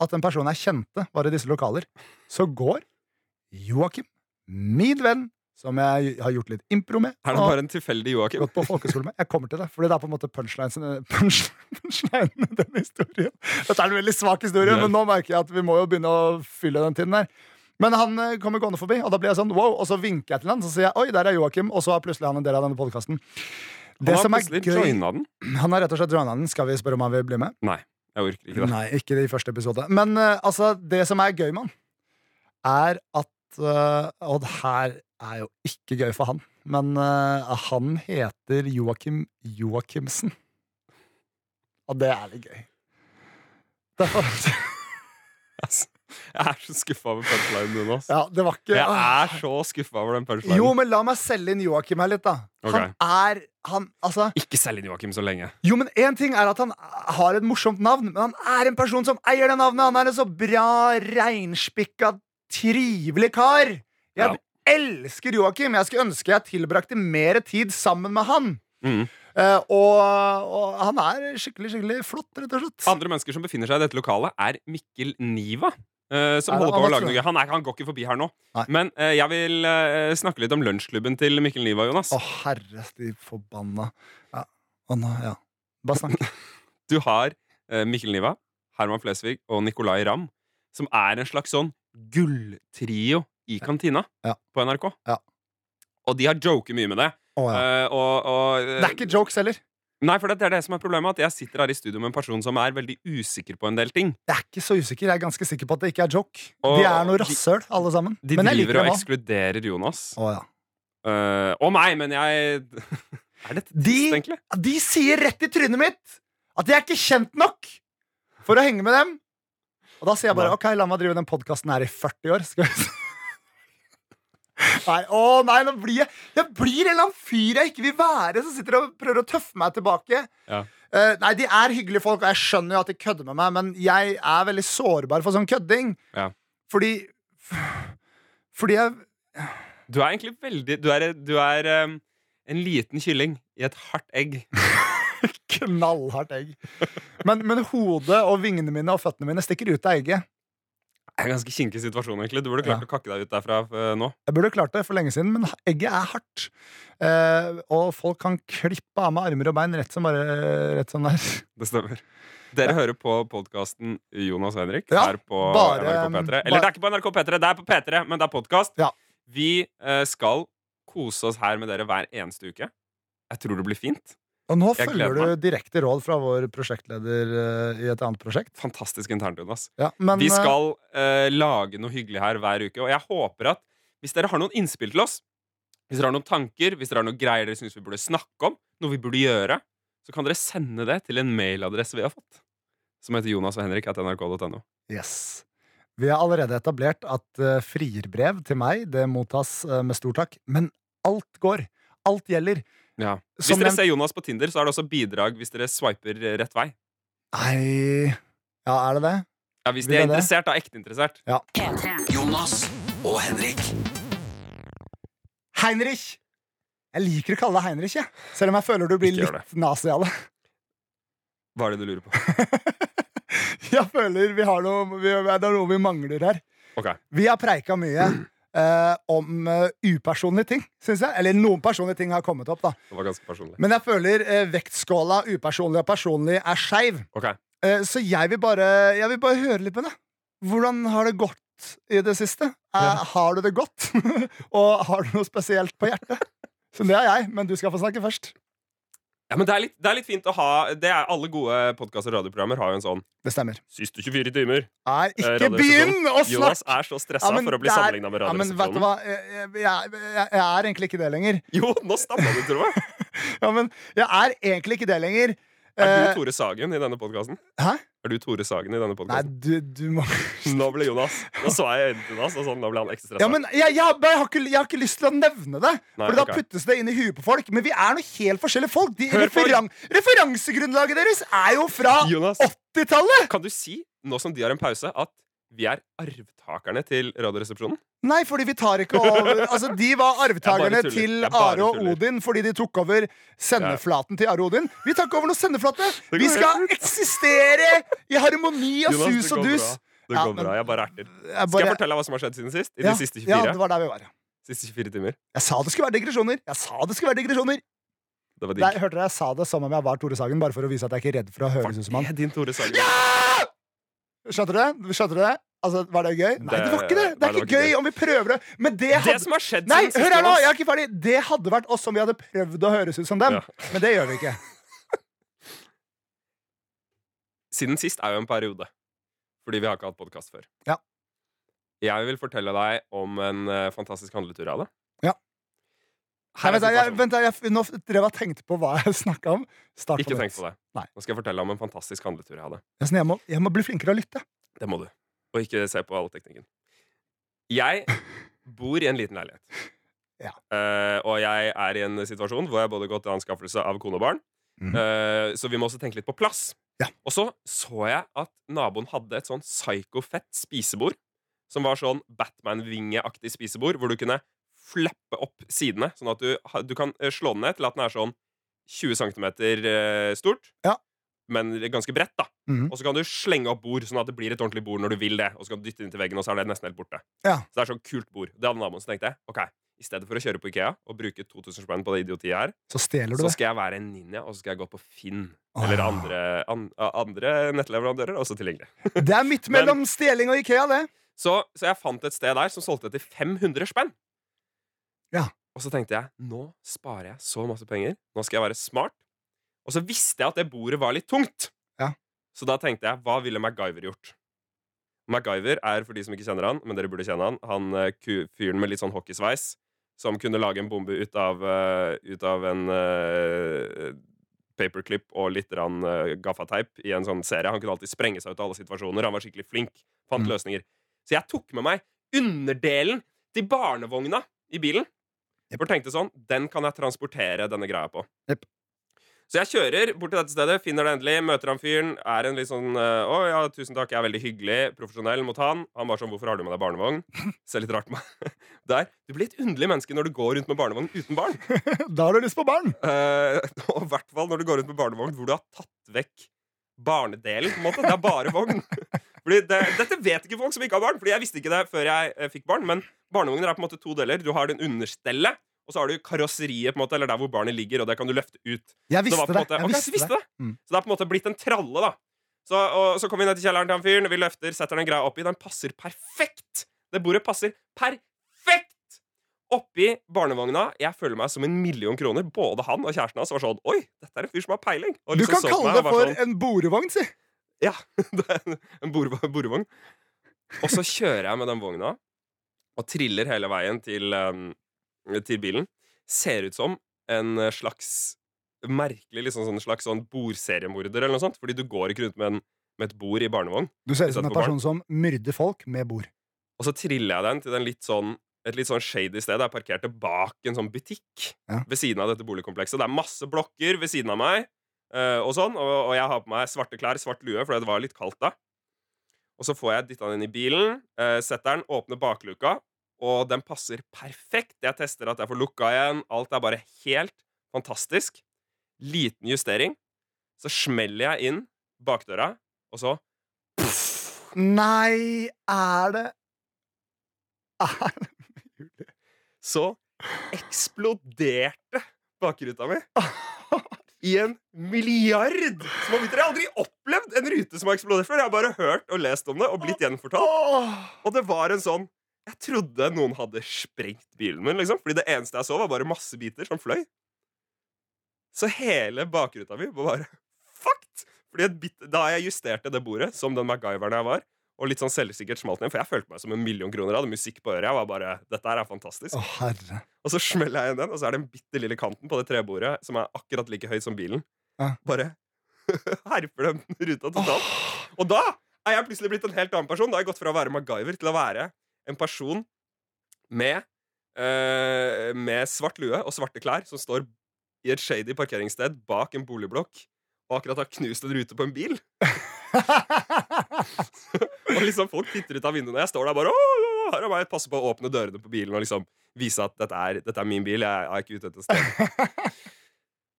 S4: at en person jeg kjente, var i disse lokaler, så går Joakim, min venn, som jeg har gjort litt impro med
S3: Er det
S4: og
S3: bare en tilfeldig Joakim?
S4: gått på folkeskole med Jeg kommer til det, fordi det er på en måte punchlines eh, punch, punchlinen i den historien. Dette er en veldig svak historie,
S3: Ja.
S4: men nå merker jeg at vi må jo begynne å fylle den tiden her. Men han eh, kommer gående forbi, og da blir jeg sånn wow, og så vinker jeg til han, så sier jeg oi, der er Joakim, og så er plutselig han en del av denne podkasten.
S3: Han
S4: Det
S3: har
S4: som er
S3: plutselig
S4: gøy
S3: joina den.
S4: han har rett og slett joina den. Skal vi spørre om han vil bli med?
S3: Nei, jeg orker ikke det.
S4: Nei, ikke i første episode. Men eh, altså, det som er gøy med han, er at eh, Og det her er jo ikke gøy for han, men eh, han heter Joakim Joakimsen. Og det er litt gøy. Derfor,
S3: Altså, Jeg er så skuffa over punchlinen din, ass.
S4: (laughs) ja, det var ikke
S3: Jeg er så skuffa over den punchlinen.
S4: Jo, men la meg selge inn Joakim her litt, da.
S3: Ok.
S4: Han er han, altså,
S3: Ikke selg inn Joakim så lenge.
S4: Jo, men én ting er at han har et morsomt navn, men han er en person som eier det navnet. Han er en så bra, reinspikka, trivelig kar.
S3: Ja.
S4: Jeg elsker Joakim. Jeg skulle ønske jeg tilbrakte mer tid sammen med han.
S3: Mhm.
S4: Eh, og, og han er skikkelig, skikkelig flott, rett og slett.
S3: Andre mennesker som befinner seg i dette lokalet, er Mikkel Niva. eh, som
S4: Er det
S3: holder på
S4: han
S3: å lage
S4: også?
S3: noe. Han, er, han går ikke forbi her nå.
S4: Nei.
S3: Men eh, jeg vil eh, snakke litt om lunsjklubben til Mikkel Niva, Jonas.
S4: Å, herre de forbanna. Ja. Å, nei, ja.
S3: (laughs)
S4: Bare snakk.
S3: Du har eh, Mikkel Niva, Herman Flesvig og Nicolay Ramm, som er en slags sånn gulltrio i kantina
S4: Ja.
S3: på NRK.
S4: Ja.
S3: Og de har joket mye med det.
S4: Å, ja.
S3: Eh, og, og, eh,
S4: Det er ikke jokes heller.
S3: Nei, for det er det som er problemet, at jeg sitter her i studio med en person som er veldig usikker på en del ting.
S4: Jeg er ikke så usikker. Jeg er ganske sikker på at det ikke er joke.
S3: Og
S4: de er noe
S3: de-
S4: rasshøl, alle sammen.
S3: De
S4: men jeg liker
S3: driver og
S4: dem òg.
S3: ekskluderer Jonas.
S4: Å, ja.
S3: Eh, og meg, men
S4: (laughs)
S3: jeg Er det (laughs) trist,
S4: De-
S3: egentlig?
S4: De sier rett i trynet mitt at jeg er ikke kjent nok for å henge med dem. Og da sier jeg
S3: Nei.
S4: bare ok, la meg drive den podkasten her i 40 år. Skal vi se. (laughs) Nei, å nei, nå blir jeg Jeg blir en eller annen fyr jeg ikke vil være, som sitter og prøver å tøffe meg tilbake.
S3: Ja.
S4: Eh, nei, de er hyggelige folk, og jeg skjønner jo at de kødder med meg, men jeg er veldig sårbar for sånn kødding.
S3: Ja.
S4: Fordi Fordi jeg
S3: Du er egentlig veldig Du er, du er um, en liten kylling i et hardt egg.
S4: Knallhardt egg. Men, men hodet og vingene mine og føttene mine stikker ut av egget.
S3: Det er en ganske kinkig situasjon, egentlig. Du burde klart å kakke deg ut derfra eh, nå.
S4: Jeg burde klart det for lenge siden, men egget er hardt. Eh, og folk kan klippe av meg armer og bein rett som bare rett sånn der.
S3: Det stemmer. Dere hører på podkasten Jonas og Henrik
S4: Ja,
S3: her på
S4: bare,
S3: NRK
S4: um,
S3: P3.
S4: bare-
S3: Eller det er ikke på NRK P3, det er på P3, men det er podkast.
S4: Ja.
S3: Vi eh, skal kose oss her med dere hver eneste uke. Jeg tror det blir fint.
S4: Og nå
S3: Jeg
S4: følger
S3: gleder
S4: du direkte råd fra vår prosjektleder eh, i et annet prosjekt.
S3: Fantastisk internt, Jonas.
S4: Ja, men,
S3: Vi skal eh, lage noe hyggelig her hver uke, og jeg håper at hvis dere har noen innspill til oss, hvis dere har noen tanker, hvis dere har noen greier dere syns vi burde snakke om, noe vi burde gjøre, så kan dere sende det til en mailadresse vi har fått, som heter Jonas og Henrik at nrk.no.
S4: eh, yes. Vi har allerede etablert at eh, frierbrev til meg det mottas eh, med stor takk, men alt går. Alt gjelder.
S3: Ja. Hvis
S4: Som
S3: dere
S4: en-
S3: ser Jonas på Tinder, så er det også bidrag hvis dere swiper eh, rett vei.
S4: Nei Ja, er det det?
S3: Ja, hvis de
S4: Vil
S3: er
S4: jeg det?
S3: interessert, da. Ekte interessert.
S1: P3.
S2: Jonas og Henrik.
S4: Heinrich! Jeg liker å kalle deg Heinrich, jeg. Selv om jeg føler du blir
S3: Ikke gjør
S4: litt nazi av det.
S3: Hva er det du lurer
S4: (laughs)
S3: på?
S4: Jeg føler vi har noe, vi, det er noe vi mangler her.
S3: Ok.
S4: Vi har preika mye eh, om eh, upersonlige ting, syns jeg. Eller noen personlige ting har kommet opp, da.
S3: Det var ganske personlig.
S4: Men jeg føler eh, vektskåla upersonlig og personlig er skeiv.
S3: Ok.
S4: Eh, så jeg vil, bare, jeg vil bare høre litt med deg. Hvordan har det gått i det siste? Eh, Har du det godt? (laughs) og har du noe spesielt på hjertet? Så det har jeg, men du skal få snakke først.
S3: Ja, men det er litt, det er litt fint å ha det er, Alle gode podkast- og radioprogrammer har jo en sånn
S4: Det stemmer.
S3: siste 24 timer.
S4: Nei, ikke
S3: radioresepsjon.
S4: begynn (laughs) å
S3: Jonas
S4: snakke!
S3: er så stressa for å bli
S4: der-
S3: sammenligna med
S4: ja, men vet du
S3: Radioresepsjonen.
S4: hva? Jeg, jeg, jeg, jeg er egentlig ikke det lenger.
S3: jo, nå stamma du, tror jeg.
S4: (laughs) Ja, men jeg er egentlig ikke det lenger.
S3: Er
S4: (laughs) Eh,
S3: du Tore Sagen i denne podkasten?
S4: Hæ?
S3: Er du Tore Sagen i denne
S4: Nei,
S3: podkasten?
S4: du, du
S3: (laughs)
S4: må
S3: Nå ble Jonas Nå så jeg øynene til Jonas, og sånn, nå ble han ekstra stressa.
S4: Ja, men jeg, jeg, har- jeg, har ikke, jeg har ikke lyst til å nevne det.
S3: Nei,
S4: for da
S3: ok.
S4: puttes det inn i huet på folk. Men vi er noe helt forskjellige folk. De,
S3: Hør på-
S4: referan, referansegrunnlaget deres er jo fra
S3: Jonas,
S4: 80-tallet!
S3: kan du si, nå som de har en pause, at vi er arvtakerne til Radioresepsjonen?
S4: Nei, fordi vi tar ikke over
S3: (laughs)
S4: Altså, De var arvtakerne
S3: Jeg bare tuller.
S4: til
S3: Jeg bare
S4: Are og
S3: tuller.
S4: Odin fordi de tok over sendeflaten til Are og Odin. Vi tar ikke over noe sendeflate!
S3: går
S4: Vi
S3: helt
S4: skal eksistere i harmoni og
S3: Jonas,
S4: sus og dus.
S3: bra. Det
S4: Ja,
S3: går
S4: men-
S3: bra. Jeg bare erter.
S4: Jeg
S3: Skal jeg
S4: bare-
S3: fortelle deg hva som har skjedd siden sist? I
S4: ja,
S3: de siste
S4: Ja,
S3: 24,
S4: det var der vi var, ja.
S3: siste 24 timer?
S4: Jeg sa det skulle være digresjoner. Jeg sa det skulle være digresjoner
S3: Det var
S4: Nei,
S3: digg.
S4: hørte dere, Jeg sa det som om jeg var Tore Sagen, bare for å vise at jeg ikke er redd for å høres ut som
S3: Det
S4: han.
S3: er din Tore Sagen.
S4: Skjønte dere? Skjønte dere? Altså, Var det gøy? Nei, det var ikke det! Det
S3: Nei,
S4: er
S3: det
S4: ikke
S3: var ikke
S4: gøy om vi prøver det. Men det
S3: Det
S4: hadde
S3: som har skjedd
S4: Nei,
S3: siden sist,
S4: hør her nå!
S3: Jonas-
S4: Jeg er ikke ferdig. Det hadde vært oss om vi hadde prøvd å høres ut som dem.
S3: Ja.
S4: Men det gjør vi ikke.
S3: siden sist er jo en periode. Fordi vi har ikke hatt podkast før.
S4: Ja.
S3: Jeg vil fortelle deg om en eh, fantastisk handletur av det.
S4: Ja. Nei,
S3: Her er
S4: vent, da, jeg,
S3: situasjonen.
S4: vent, da, jeg, nå drev jeg og tenkte på hva jeg snakka om. Start
S3: Ikke tenk på det.
S4: Nei.
S3: Nå skal jeg fortelle om en fantastisk handletur jeg hadde.
S4: Jeg, sånn, jeg, må, jeg må bli flinkere til å lytte.
S3: Det må du. Og ikke se på all teknikken. Jeg bor i en liten leilighet.
S4: (laughs) Ja.
S3: Eh, og jeg er i en situasjon hvor jeg både har gått til anskaffelse av kone og barn.
S4: Mhm.
S3: eh, så vi må også tenke litt på plass.
S4: Ja.
S3: Og så så jeg at naboen hadde et sånn psykofett spisebord. Som var sånn Batman-vingeaktig spisebord, hvor du kunne flappe opp sidene. Sånn at du, ha- du kan eh, slå den ned til at den er sånn 20 cm stort,
S4: Ja.
S3: men ganske bredt, da.
S4: Mhm.
S3: Og så kan du slenge opp bord, sånn at det blir et ordentlig bord når du vil det. Og så kan du dytte det inntil veggen, og så er det nesten helt borte.
S4: Ja.
S3: Så det er sånn kult bord. Det hadde naboen, så tenkte jeg ok, i stedet for å kjøre på Ikea og bruke 2000 spenn på det idiotiet her,
S4: Så stjeler du
S3: så
S4: det.
S3: skal jeg være en ninja, og så skal jeg gå på Finn.
S4: Åh.
S3: Eller andre, an, andre nettleverandører, også tilgjengelig.
S4: Det er midt
S3: Men-
S4: mellom stjeling og Ikea, det. (laughs)
S3: Så, så jeg fant et sted der som solgte det til 500 spenn.
S4: Ja.
S3: Og så tenkte jeg nå sparer jeg så masse penger. Nå skal jeg være smart. Og så visste jeg at det bordet var litt tungt.
S4: Ja.
S3: Så da tenkte jeg hva ville MacGyver gjort? MacGyver er for de som ikke kjenner han, men dere burde kjenne han, han eh, ku- fyren med litt sånn hockeysveis som kunne lage en bombe ut av, eh, ut av en eh, paperclip og litt rann, eh, gaffateip i en sånn serie. Han kunne alltid sprenge seg ut av alle situasjoner. Han var skikkelig flink. Fant
S4: Mm.
S3: løsninger. Så jeg tok med meg underdelen til barnevogna i bilen.
S4: Jep.
S3: For tenkte sånn, den kan jeg transportere denne greia på.
S4: Jep.
S3: Så jeg kjører bort til dette stedet, finner det endelig, møter han fyren. Er en litt sånn eh, 'Å ja, tusen takk, jeg er veldig hyggelig, profesjonell mot han'. Han bare sånn 'Hvorfor har du med deg barnevogn?' Ser litt rart på meg. (laughs) Der. Du blir et underlig menneske når du går rundt med barnevogn uten barn.
S4: Da har du lyst på barn!
S3: Eh, (laughs) og i hvert fall når du går rundt med barnevogn hvor du har tatt vekk barnedelen. på en måte Det er bare vogn. Fordi det, dette vet ikke folk som ikke har barn. Fordi jeg visste ikke det før jeg eh, fikk barn Men barnevogner er på en måte to deler. Du har den understellet, og så har du karosseriet, på en måte eller der hvor barnet ligger, og det kan du løfte ut. Så
S4: Jeg
S3: det var
S4: visste
S3: på en
S4: det.
S3: måte,
S4: Jeg
S3: ok,
S4: visste
S3: så visste
S4: det.
S3: det.
S4: Mm.
S3: Så det er på en måte blitt en tralle, da. Så, og, så kommer vi ned til kjelleren til han fyren, vi løfter, setter den greia oppi. Den passer perfekt! Det bordet passer perfekt! Oppi barnevogna. Jeg føler meg som en million kroner. Både han og kjæresten hans var sånn Oi, dette er en fyr som har peiling. Og
S4: Du
S3: liksom
S4: kan
S3: så på
S4: kalle
S3: meg
S4: det
S3: og var
S4: for
S3: sånn,
S4: en borevogn, si.
S3: Ja, (laughs) det er en- en bore- borevogn. Og så kjører jeg med den vogna og triller hele veien til, eh, til bilen. Ser ut som en eh, slags merkelig liksom sånn slags sånn bordseriemorder eller noe sånt. Fordi du går ikke rundt med, en, med et bord i barnevogn.
S4: Du ser ut som
S3: Satt
S4: en
S3: på
S4: person som myrder folk med bord.
S3: Og så triller jeg den til den litt sånn et litt sånn shady sted. Jeg parkerte bak en sånn butikk
S4: Ja.
S3: ved siden av dette boligkomplekset. Det er masse blokker ved siden av meg, eh, og sånn, og, og jeg har på meg svarte klær, svart lue, fordi det var litt kaldt da. Og så får jeg dytta den inn i bilen, eh, setter den, åpner bakluka, og den passer perfekt. Jeg tester at jeg får lukka igjen. Alt er bare helt fantastisk. Liten justering. Så smeller jeg inn bakdøra, og så
S4: Nei, er det Er det
S3: så eksploderte bakruta mi i en milliard småbiter. Jeg har aldri opplevd en rute som har eksplodert før. Jeg har bare hørt og lest om det og blitt gjenfortalt.
S4: Åh!
S3: Og det var en sånn Jeg trodde noen hadde sprengt bilen min, liksom. Fordi det eneste jeg så, var bare masse biter som fløy. Så hele bakruta mi var bare fucked! Fordi et bit, da jeg justerte det bordet, som den MacGyveren jeg var, og litt sånn selvsikkert smalt ned, for jeg følte meg som en million kroner, jeg hadde musikk på øret, jeg var bare Dette her er fantastisk.
S4: Å, herre. (laughs)
S3: Og så smeller jeg igjen den, og så er den bitte lille kanten på det trebordet, som er akkurat like høy som bilen,
S4: Ja.
S3: bare (laughs) herper den ruta totalt. Og da er jeg plutselig blitt en helt annen person. Da har jeg gått fra å være MacGyver til å være en person med, eh, med svart lue og svarte klær som står i et shady parkeringssted bak en boligblokk og akkurat har knust en rute på en bil. Og liksom folk titter ut av vinduene, og jeg står der bare «Åh, her er meg, passer på å åpne dørene på bilen og liksom vise at dette er, dette er min bil. Jeg er ikke ute etter sted.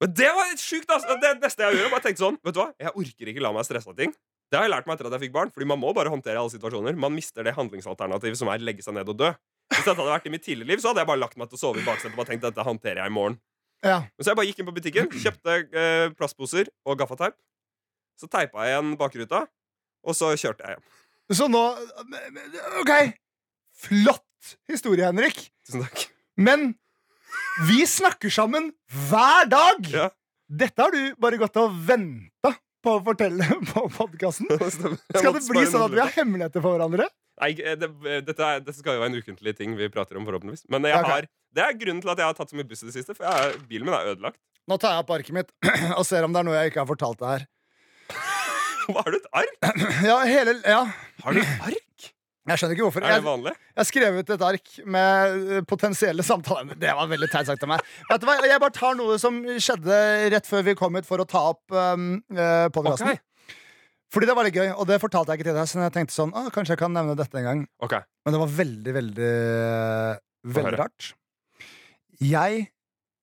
S3: Men det var litt sjukt, altså. Det neste jeg gjør, bare tenkte sånn Vet du hva, jeg orker ikke la meg stresse av ting. Det har jeg lært meg etter at jeg fikk barn, Fordi man må bare håndtere alle situasjoner. Man mister det handlingsalternativet som er legge seg ned og dø. Hvis dette hadde vært i mitt tidligere liv, så hadde jeg bare lagt meg til å sove i baksetet og bare tenkt dette håndterer jeg i morgen.
S4: Ja.
S3: Men så jeg bare gikk inn på butikken, kjøpte eh, plastposer og gaffateip. Så teipa jeg igjen bakruta, og så kjørte jeg hjem.
S4: Så nå OK. Flott historie, Henrik.
S3: Tusen takk.
S4: Men vi snakker sammen hver dag!
S3: Ja.
S4: Dette har du bare gått og venta på å fortelle på podkasten. Skal det bli sånn at vi har hemmeligheter for hverandre?
S3: Nei, eh, det, eh, dette, er, dette skal jo være en ukentlig ting vi prater om, forhåpentligvis. Men jeg
S4: Ja, ok.
S3: har, det er grunnen til at jeg har tatt så mye buss i det siste, for jeg, er- bilen min er ødelagt.
S4: Nå tar jeg opp arket mitt (clears throat) og ser om det er noe jeg ikke har fortalt deg her.
S3: Hva, har du et ark?
S4: Ja, hele, ja.
S3: Har du et ark?
S4: Jeg skjønner ikke hvorfor.
S3: Er det
S4: Jeg,
S3: vanlig?
S4: jeg skrev ut et ark med eh, potensielle samtaler. Men Det var veldig teit sagt av meg. Vet du hva? Jeg bare tar noe som skjedde rett før vi kom hit for å ta opp um, podkasten.
S3: Ok.
S4: Fordi det var litt gøy, og det fortalte jeg ikke til deg. Så jeg tenkte sånn, ah, kanskje jeg kan nevne dette en gang
S3: Ok.
S4: Men det var veldig, veldig eh, Veldig
S3: høre.
S4: rart. Jeg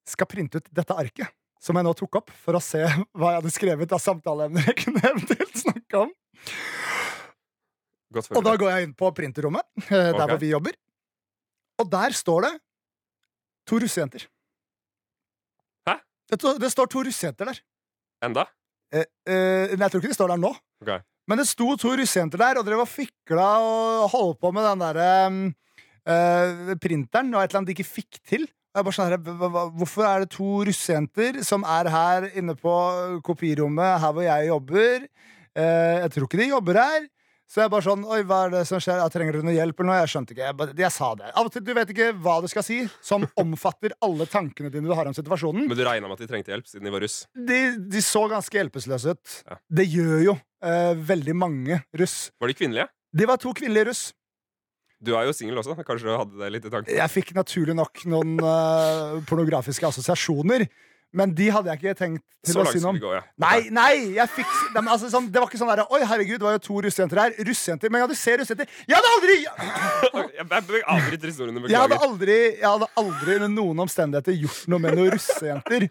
S4: skal printe ut dette arket, som jeg nå tok opp, for å se (laughs) hva jeg hadde skrevet av samtaleemner jeg kunne (laughs) eventuelt snakke om.
S3: Godt
S4: Og da
S3: forberedt.
S4: går jeg inn på printerrommet, (laughs) eh, der
S3: Ok.
S4: hvor vi jobber. Og der står det to russejenter.
S3: Hæ?
S4: Det, to- det står to russejenter der.
S3: Enda?
S4: Eh, eh, nei, jeg tror ikke de står der nå.
S3: Ok.
S4: Men det sto to russejenter der, og dere var fikla og holdt på med den derre printeren og et eller annet de ikke fikk til. Og jeg bare sånn her, hva- hva- Hvorfor er det to russejenter som er her inne på eh, kopirommet, her hvor jeg jobber? Eh, jeg tror ikke de jobber her. Så jeg bare sånn, oi, hva er det som skjer? Jeg trenger du noe hjelp eller noe? Jeg skjønte ikke. Jeg, bare, jeg sa det. Av og til, du vet ikke hva du skal si, som omfatter alle tankene dine du har om situasjonen
S3: Men du regna med at de trengte hjelp, siden de var russ?
S4: de, de så ganske hjelpeløse ut.
S3: Ja.
S4: Det gjør jo eh, veldig mange russ.
S3: Var de kvinnelige?
S4: De var to kvinnelige russ.
S3: Du er jo singel også. Kanskje du hadde det litt i tanken?
S4: Jeg fikk naturlig nok noen (laughs) eh, pornografiske assosiasjoner, men de hadde jeg ikke tenkt til
S3: Så
S4: å
S3: langt
S4: si noe
S3: skal
S4: om.
S3: vi gå, ja. (laughs)
S4: Nei, nei! jeg fikk Nei, men altså, sånn, Det var ikke sånn der, Oi, herregud, det var jo to russejenter her. Russejenter. Men ja, du ser russejenter. Jeg hadde aldri
S3: Jeg jeg avbryter historien.
S4: jeg
S3: Beklager.
S4: hadde aldri, jeg hadde aldri under noen omstendigheter gjort noe med noen russejenter.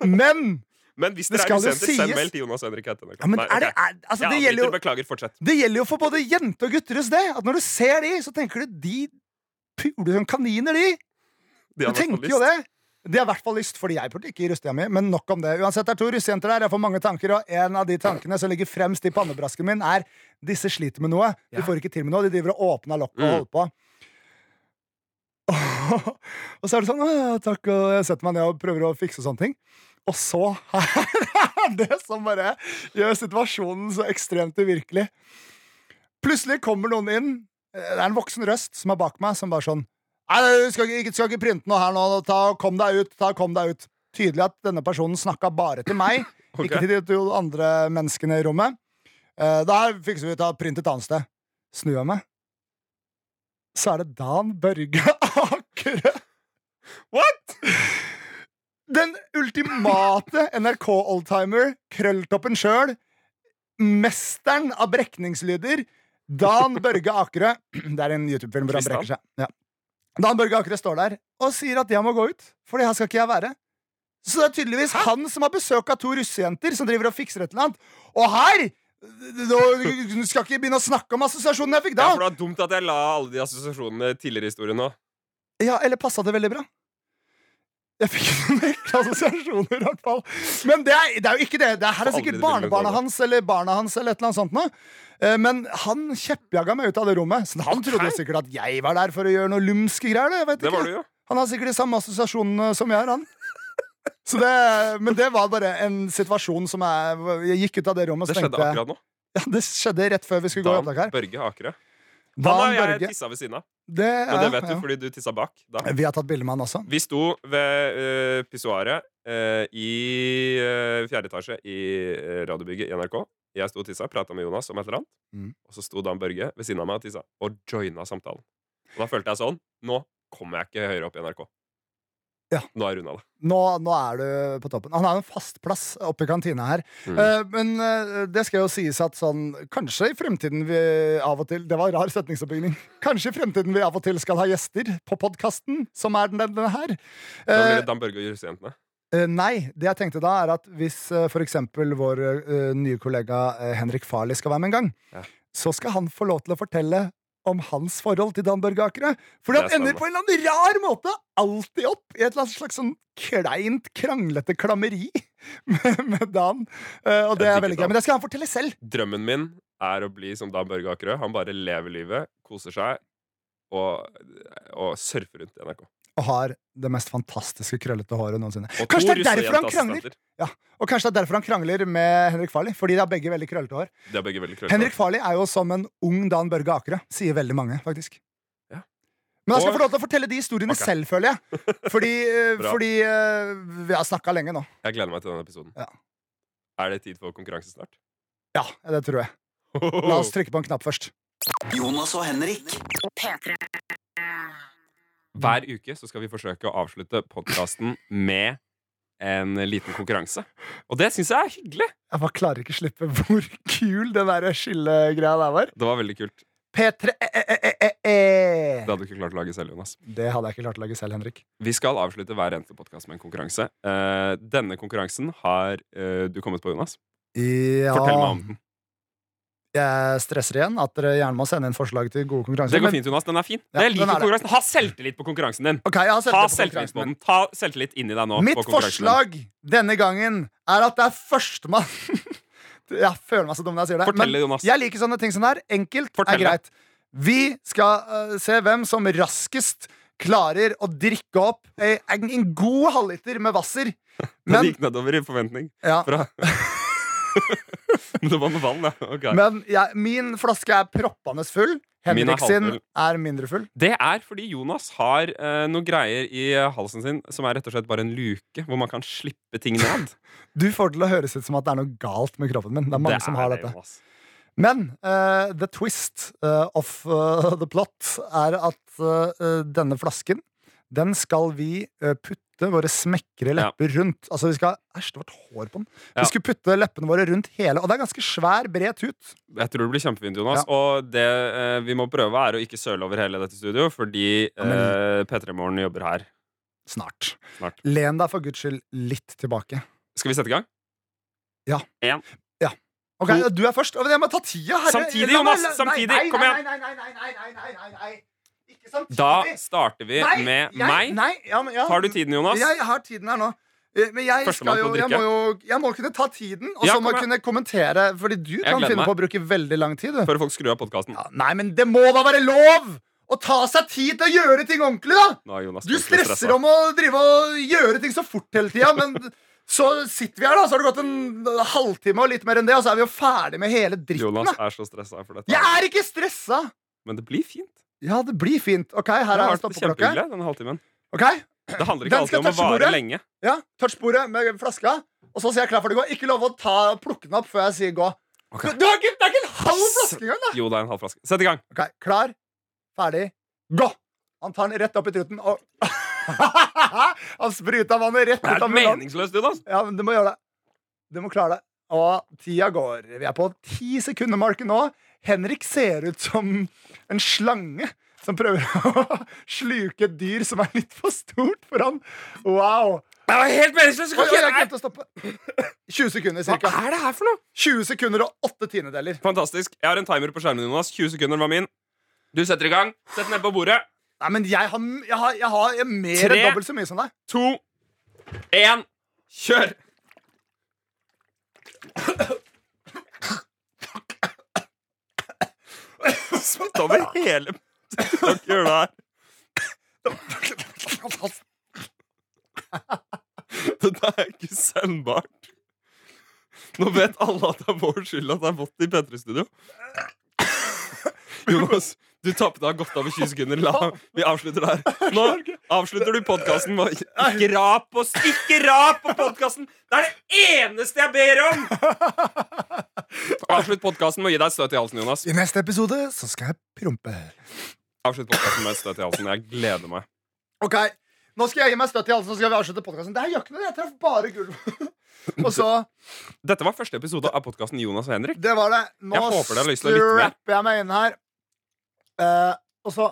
S4: Men
S3: Men hvis
S4: Det
S3: dere er
S4: skal jo
S3: usenter, send
S4: sies-
S3: mail til Jonas og Henrik. Hetten.
S4: ja, men er det, er, altså, det, gjelder jo,
S3: Beklager. Fortsett.
S4: det gjelder jo for både jente og gutter hos det. At når du ser de, så tenker du de puler som kaniner, de.
S3: De
S4: Du
S3: har i hvert fall
S4: tenker jo
S3: lyst.
S4: det. De har i hvert fall lyst, fordi jeg pulte ikke i rustida mi. Men nok om det. Uansett, det er to russejenter der. Jeg får mange tanker, og en av de tankene som ligger fremst i pannebrasken min, er disse sliter med noe. De får ikke til med noe. De driver og åpner lokket og
S3: Mm.
S4: holder på. (laughs) og så er det sånn «Å, ja, Takk, og jeg setter meg ned og prøver å fikse sånne ting. Og så (laughs) er det som bare gjør situasjonen så ekstremt uvirkelig. Plutselig kommer noen inn. Eh, Det er en voksen røst som er bak meg, som bare sånn Nei, du skal ikke, skal ikke printe noe her nå. Ta, kom deg ut. Ta, kom deg ut. Tydelig at denne personen snakka bare til meg,
S3: Ok.
S4: ikke til de to andre menneskene i rommet. Eh, det her fikser vi ut av print et annet sted. Snur jeg meg, så er det Dan Børge (laughs) Akere. What?! Den ultimate NRK-oldtimer, krølltoppen sjøl, mesteren av brekningslyder, Dan Børge Akere. Det er en YouTube-film hvor han brekker seg. Ja. Dan Børge Akere står der og sier at jeg må gå ut, for det her skal ikke jeg være. Så det er tydeligvis han som har besøk av to russejenter som driver og fikser et eller annet. Og her! Nå du skal ikke begynne å snakke om assosiasjonen jeg fikk da.
S3: Ja, for det var dumt at jeg la alle de assosiasjonene tidligere i historien nå.
S4: Ja, eller passa det veldig bra? Jeg fikk noen ekle assosiasjoner, i hvert fall. Men det er, det er jo ikke det. Det her er
S3: Aldri
S4: sikkert
S3: det bildet går,
S4: barnebarnet
S3: da.
S4: hans eller barna hans. eller et eller annet sånt noe. Eh, Men han kjeppjaga meg ut av det rommet. Så han trodde jo sikkert at jeg var der for å gjøre noe lumske greier. da. Jeg vet
S3: Det
S4: ikke.
S3: var du jo.
S4: Han har sikkert de samme assosiasjonene som jeg har, han. Så det, men det var bare en situasjon som jeg, jeg gikk ut av det rommet og
S3: Det
S4: så
S3: skjedde
S4: tenkte jeg-
S3: akkurat nå.
S4: Ja, det skjedde rett før vi skulle gå i
S3: Dan
S4: opptak her.
S3: Børge Akerø. Han
S4: Dan
S3: har jeg
S4: Børge.
S3: tissa ved siden av.
S4: Det,
S3: Men det
S4: er-
S3: vet du fordi du tissa bak. Da.
S4: ja. Vi har tatt bilde med han også.
S3: Vi sto ved uh, pissoaret eh, i eh, fjerde etasje i eh, radiobygget i NRK. Jeg sto og tissa, prata med Jonas om et eller annet.
S4: Mm.
S3: Og så sto Dan Børge ved siden av meg og tissa, og joina samtalen. Og da følte jeg sånn Nå kommer jeg ikke høyere opp i NRK.
S4: Ja.
S3: Nå har jeg runda det.
S4: nå, nå er du på toppen. Han har jo en fast plass oppe i kantina her.
S3: Mm.
S4: Eh, men eh, det skal jo sies at sånn Kanskje i fremtiden vi av og til Det var rar setningsoppbygging. Kanskje i fremtiden vi av og til skal ha gjester på podkasten, som er den, denne her.
S3: Da blir
S4: Eh,
S3: det Dan Børge og russejentene.
S4: eh, nei. Det jeg tenkte da, er at hvis eh, for eksempel vår eh, nye kollega eh, Henrik Farley skal være med en gang,
S3: Ja.
S4: så skal han få lov til å fortelle om hans forhold til Dan Børge Akerø. Fordi
S3: Det
S4: han
S3: er spennende.
S4: ender på en eller annen rar måte alltid opp i et eller annet slags sånn kleint, kranglete klammeri (laughs) med, med Dan. Eh, og det
S3: Jeg
S4: er
S3: digger
S4: veldig gøy.
S3: Dan.
S4: Men det skal han fortelle selv.
S3: Drømmen min er å bli som Dan Børge Akerø. Han bare lever livet, koser seg og, og surfer rundt i NRK.
S4: Og har det mest fantastiske krøllete håret noensinne.
S3: Og
S4: Kanskje
S3: to
S4: det er derfor han
S3: russejentassistenter.
S4: krangler? Og kanskje det er derfor han krangler med Henrik Farley. Fordi de har begge veldig krøllete hår.
S3: De er begge veldig krøllete.
S4: Henrik Farley er jo som en ung Dan Børge Akerø, sier veldig mange, faktisk.
S3: Ja.
S4: Men han skal
S3: Og-
S4: få lov til å fortelle de historiene
S3: Ok.
S4: selv, føler
S3: (laughs)
S4: jeg. Fordi, eh,
S3: Bra.
S4: fordi eh, vi har snakka lenge nå.
S3: Jeg gleder meg til denne episoden.
S4: Ja.
S3: Er det tid for konkurranse snart?
S4: Ja, det tror jeg. La
S3: Oh.
S4: oss trykke på en knapp først.
S2: Jonas og Henrik.
S1: P3.
S3: Hver uke så skal vi forsøke å avslutte podkasten med en liten konkurranse. Og det syns jeg er hyggelig.
S4: Jeg bare klarer ikke slippe (laughs) hvor kul den der skillegreia der var.
S3: Det var veldig kult.
S4: P3 eh, eh, eh, eh, eh.
S3: Det hadde du ikke klart å lage selv, Jonas.
S4: Det hadde jeg ikke klart å lage selv, Henrik.
S3: Vi skal avslutte hver eneste podkast med en konkurranse. Eh, denne konkurransen har eh, du kommet på, Jonas.
S4: Ja,
S3: Fortell meg om den.
S4: Jeg stresser igjen at dere gjerne må sende inn forslag til gode konkurranser.
S3: Det går
S4: Altså, men-
S3: fint, Jonas. Den er fin.
S4: Ja,
S3: jeg
S4: den er
S3: liker
S4: det.
S3: konkurransen. Ha selvtillit på konkurransen din.
S4: Ok, jeg har
S3: Ta
S4: selvtillit på
S3: selvtillit på
S4: konkurransen.
S3: den. Ta selvtillit inni deg nå.
S4: Mitt
S3: på konkurransen din.
S4: forslag denne gangen er at det er førstemann (laughs) Jeg føler meg så dum når jeg sier det.
S3: Fortell det, Jonas.
S4: jeg liker sånne ting som det er. Enkelt
S3: Fortell
S4: er
S3: det.
S4: greit. Vi skal eh, se hvem som raskest klarer å drikke opp eh, en, en god halvliter med
S3: (laughs)
S4: Hvasser.
S3: Den
S4: Men,
S3: gikk nedover i forventning. (laughs)
S4: ja,
S3: Bra. Men det var noe vann, da. Ok.
S4: men jeg, min flaske er proppende full.
S3: Min er
S4: Henrik sin
S3: halvfull.
S4: er mindre full.
S3: Det er fordi Jonas har eh, noen greier i eh, halsen sin som er rett og slett bare en luke hvor man kan
S4: (laughs)
S3: slippe ting ned.
S4: Du får det til å høres ut som at det er noe galt med kroppen min. Det er mange som har
S3: det,
S4: dette.
S3: Jonas.
S4: Men eh, the twist eh, of eh, the plot er at eh, denne flasken, den skal vi eh, putte våre smekre lepper rundt. Altså, vi skal Æsj, det var et hår på den.
S3: Ja.
S4: Vi skulle putte leppene våre rundt hele, og det er ganske svær, bred tut.
S3: Jeg tror det blir kjempefint, Jonas. Og det eh, vi må prøve, er å ikke søle over hele dette studio, fordi eh, P3 Morgen jobber her.
S4: Snart.
S3: Snart.
S4: Len deg for guds skyld litt tilbake.
S3: Skal vi sette i gang?
S4: Ok, Du er først. Jeg må ta tida, herre.
S3: Samtidig,
S4: La meg-
S3: Jonas,
S4: la- nei,
S3: samtidig.
S4: nei,
S3: Kom
S4: nei,
S3: igjen.
S4: Nei, nei, nei, nei, nei, nei, nei, nei, nei. Ikke samtidig.
S3: Da starter vi
S4: Nei,
S3: med
S4: jeg-
S3: meg.
S4: Nei, ja, men, ja.
S3: Tar du tiden, Jonas?
S4: Jeg har tiden her nå. Eh, Men jeg,
S3: Førstemann
S4: skal jo,
S3: til å
S4: jeg,
S3: drikke.
S4: må jo, jeg må kunne ta tiden, og
S3: Ja,
S4: så må
S3: kom
S4: jeg kunne kommentere. Fordi du kan
S3: gleder
S4: finne
S3: meg.
S4: på å bruke veldig lang tid. Du.
S3: Før folk skrur av podkasten.
S4: Ja, nei, men det må da være lov å ta seg tid til å gjøre ting ordentlig, da!
S3: Nå er Jonas
S4: Du stresser om å drive og gjøre ting så fort hele tida, men (laughs) så sitter vi her, da. Så har det gått en halvtime og litt mer enn det, og så er vi jo ferdig med hele dritten.
S3: Jonas
S4: Da.
S3: er så stressa for dette.
S4: Jeg er ikke stressa!
S3: Men det blir fint.
S4: Ja, det blir fint. OK,
S3: Det
S4: her
S3: har
S4: er
S3: vært
S4: stoppeklokke.
S3: kjempehyggelig denne halvtimen.
S4: Ok,
S3: Det handler ikke
S4: Den
S3: alltid
S4: skal
S3: om å
S4: touche
S3: vare
S4: bordet.
S3: lenge.
S4: ja, Touch bordet med flaska, og så sier jeg klar for det gå. Ikke lov å ta, plukke den opp før jeg sier gå.
S3: Ok.
S4: Du, du har ikke, det er ikke en halv flaske engang! da.
S3: Jo, det er en halv flaske. Sett i gang.
S4: Ok, Klar, ferdig, gå! Han tar den rett opp i truten og (laughs) Han spruta vannet rett
S3: Det
S4: ut
S3: er
S4: av munnen.
S3: meningsløst, Jonas.
S4: Ja, men du må gjøre det. Du må klare det. Og tida går. Vi er på ti sekundemarken nå. Henrik ser ut som en slange som prøver (laughs) å sluke et dyr som er litt for stort for han. Wow.
S3: Det var helt meningsløst.
S4: Oi, oi, jeg glemte å stoppe. 20 sekunder
S3: Hva
S4: cirka.
S3: er det her for noe?
S4: 20 sekunder og 8 tiendedeler.
S3: Fantastisk. Jeg har en timer på skjermen, Jonas. 20 sekunder var min. Du setter i gang. Sett den ned på bordet.
S4: Nei, men jeg har, jeg har, jeg har mer
S3: Tre.
S4: enn dobbelt så mye som deg.
S3: to, én, kjør! Spytt over hele Gjør det her. Dette er ikke sendbart. Nå vet alle at det er vår skyld at det er vått i P3-studio. (coughs) Jonas, du tapte av godt over 20 sekunder. La, vi avslutter der. Nå avslutter du podkasten med å Ikke rap på, ikke rap på podkasten! Det er det eneste jeg ber om! Avslutt podkasten med å gi deg et støt (laughs) i halsen, Jonas.
S4: I neste episode så skal jeg prompe.
S3: Avslutt podcasten med et støt i halsen. Jeg gleder meg.
S4: Ok, Nå skal jeg gi meg støtt i halsen, så skal vi avslutte podkasten. Det her gjør ikke noe, jeg traff bare gulvet. (laughs) og så
S3: Dette var første episode av podkasten Jonas og Henrik.
S4: Det var det. Nå
S3: Jeg håper dere har lyst til å lytte mer.
S4: strapper jeg meg inn her. Eh, og så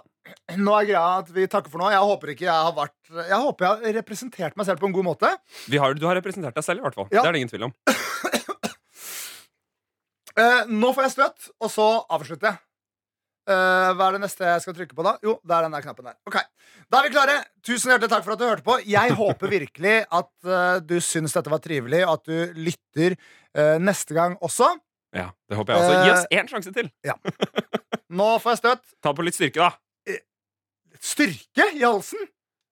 S4: Nå er greia at vi takker for nå. Jeg håper ikke jeg har vært Jeg håper jeg har representert meg selv på en god måte.
S3: Vi har, du har representert deg selv, i hvert fall.
S4: Ja.
S3: Det er det ingen tvil om.
S4: Eh, nå får jeg støtt, og så avslutter jeg. Eh, hva er det neste jeg skal trykke på, da? Jo, det er den der knappen der. Ok, Da er vi klare. Tusen hjertelig takk for at du hørte på. Jeg håper virkelig at eh, du syns dette var trivelig, og at du lytter eh, neste gang også.
S3: Ja, det håper jeg også. Gi
S4: Eh,
S3: oss én sjanse til.
S4: Nå får jeg støtt.
S3: Ta på litt styrke, da.
S4: Styrke i halsen?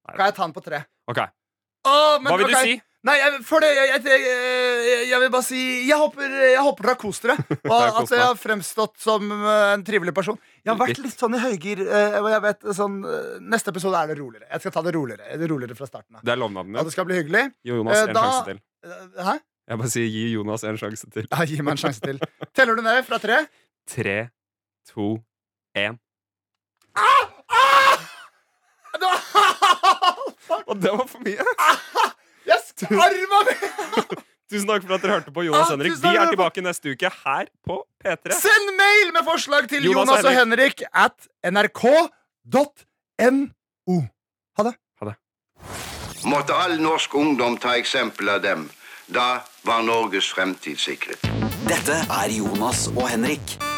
S4: Kan jeg ta den på tre?
S3: Ok,
S4: Å, men
S3: Hva vil du
S4: ok.
S3: si?
S4: Nei, jeg, for det, jeg, jeg, jeg, jeg vil bare si Jeg håper, jeg håper dere har kost (laughs) dere, og
S3: har kost
S4: at jeg
S3: meg.
S4: har fremstått som eh, en trivelig person. Jeg har vært
S3: Litt.
S4: litt sånn i høygir. eh, og jeg vet, sånn, eh, neste episode er det roligere. Jeg skal ta det roligere, det er roligere fra starten av.
S3: Det er lovnaden
S4: Ja,
S3: din.
S4: det skal bli hyggelig.
S3: Gi Jonas
S4: eh,
S3: en
S4: da-
S3: sjanse til.
S4: Eh, Hæ?
S3: Jeg bare sier gi Jonas en sjanse til.
S4: Ja, gi meg en sjanse til. (laughs) Teller du ned fra tre?
S3: Tre, to, én.
S4: Ah! (laughs) Det var- Fuck!
S3: Og det var for mye!
S4: Jeg skarva meg!
S3: Tusen takk for at dere hørte på Jonas og
S4: Ah,
S3: Henrik.
S4: tusen
S3: Vi
S4: takk for
S3: er
S4: at dere-
S3: tilbake neste uke her på P3.
S4: Send mail med forslag til
S3: Jonas og
S4: Jonas og Henrik at nrk.no. Ha det.
S8: måtte all norsk ungdom ta eksempel av dem. Da var Norges fremtid sikret.
S2: Dette er Jonas og Henrik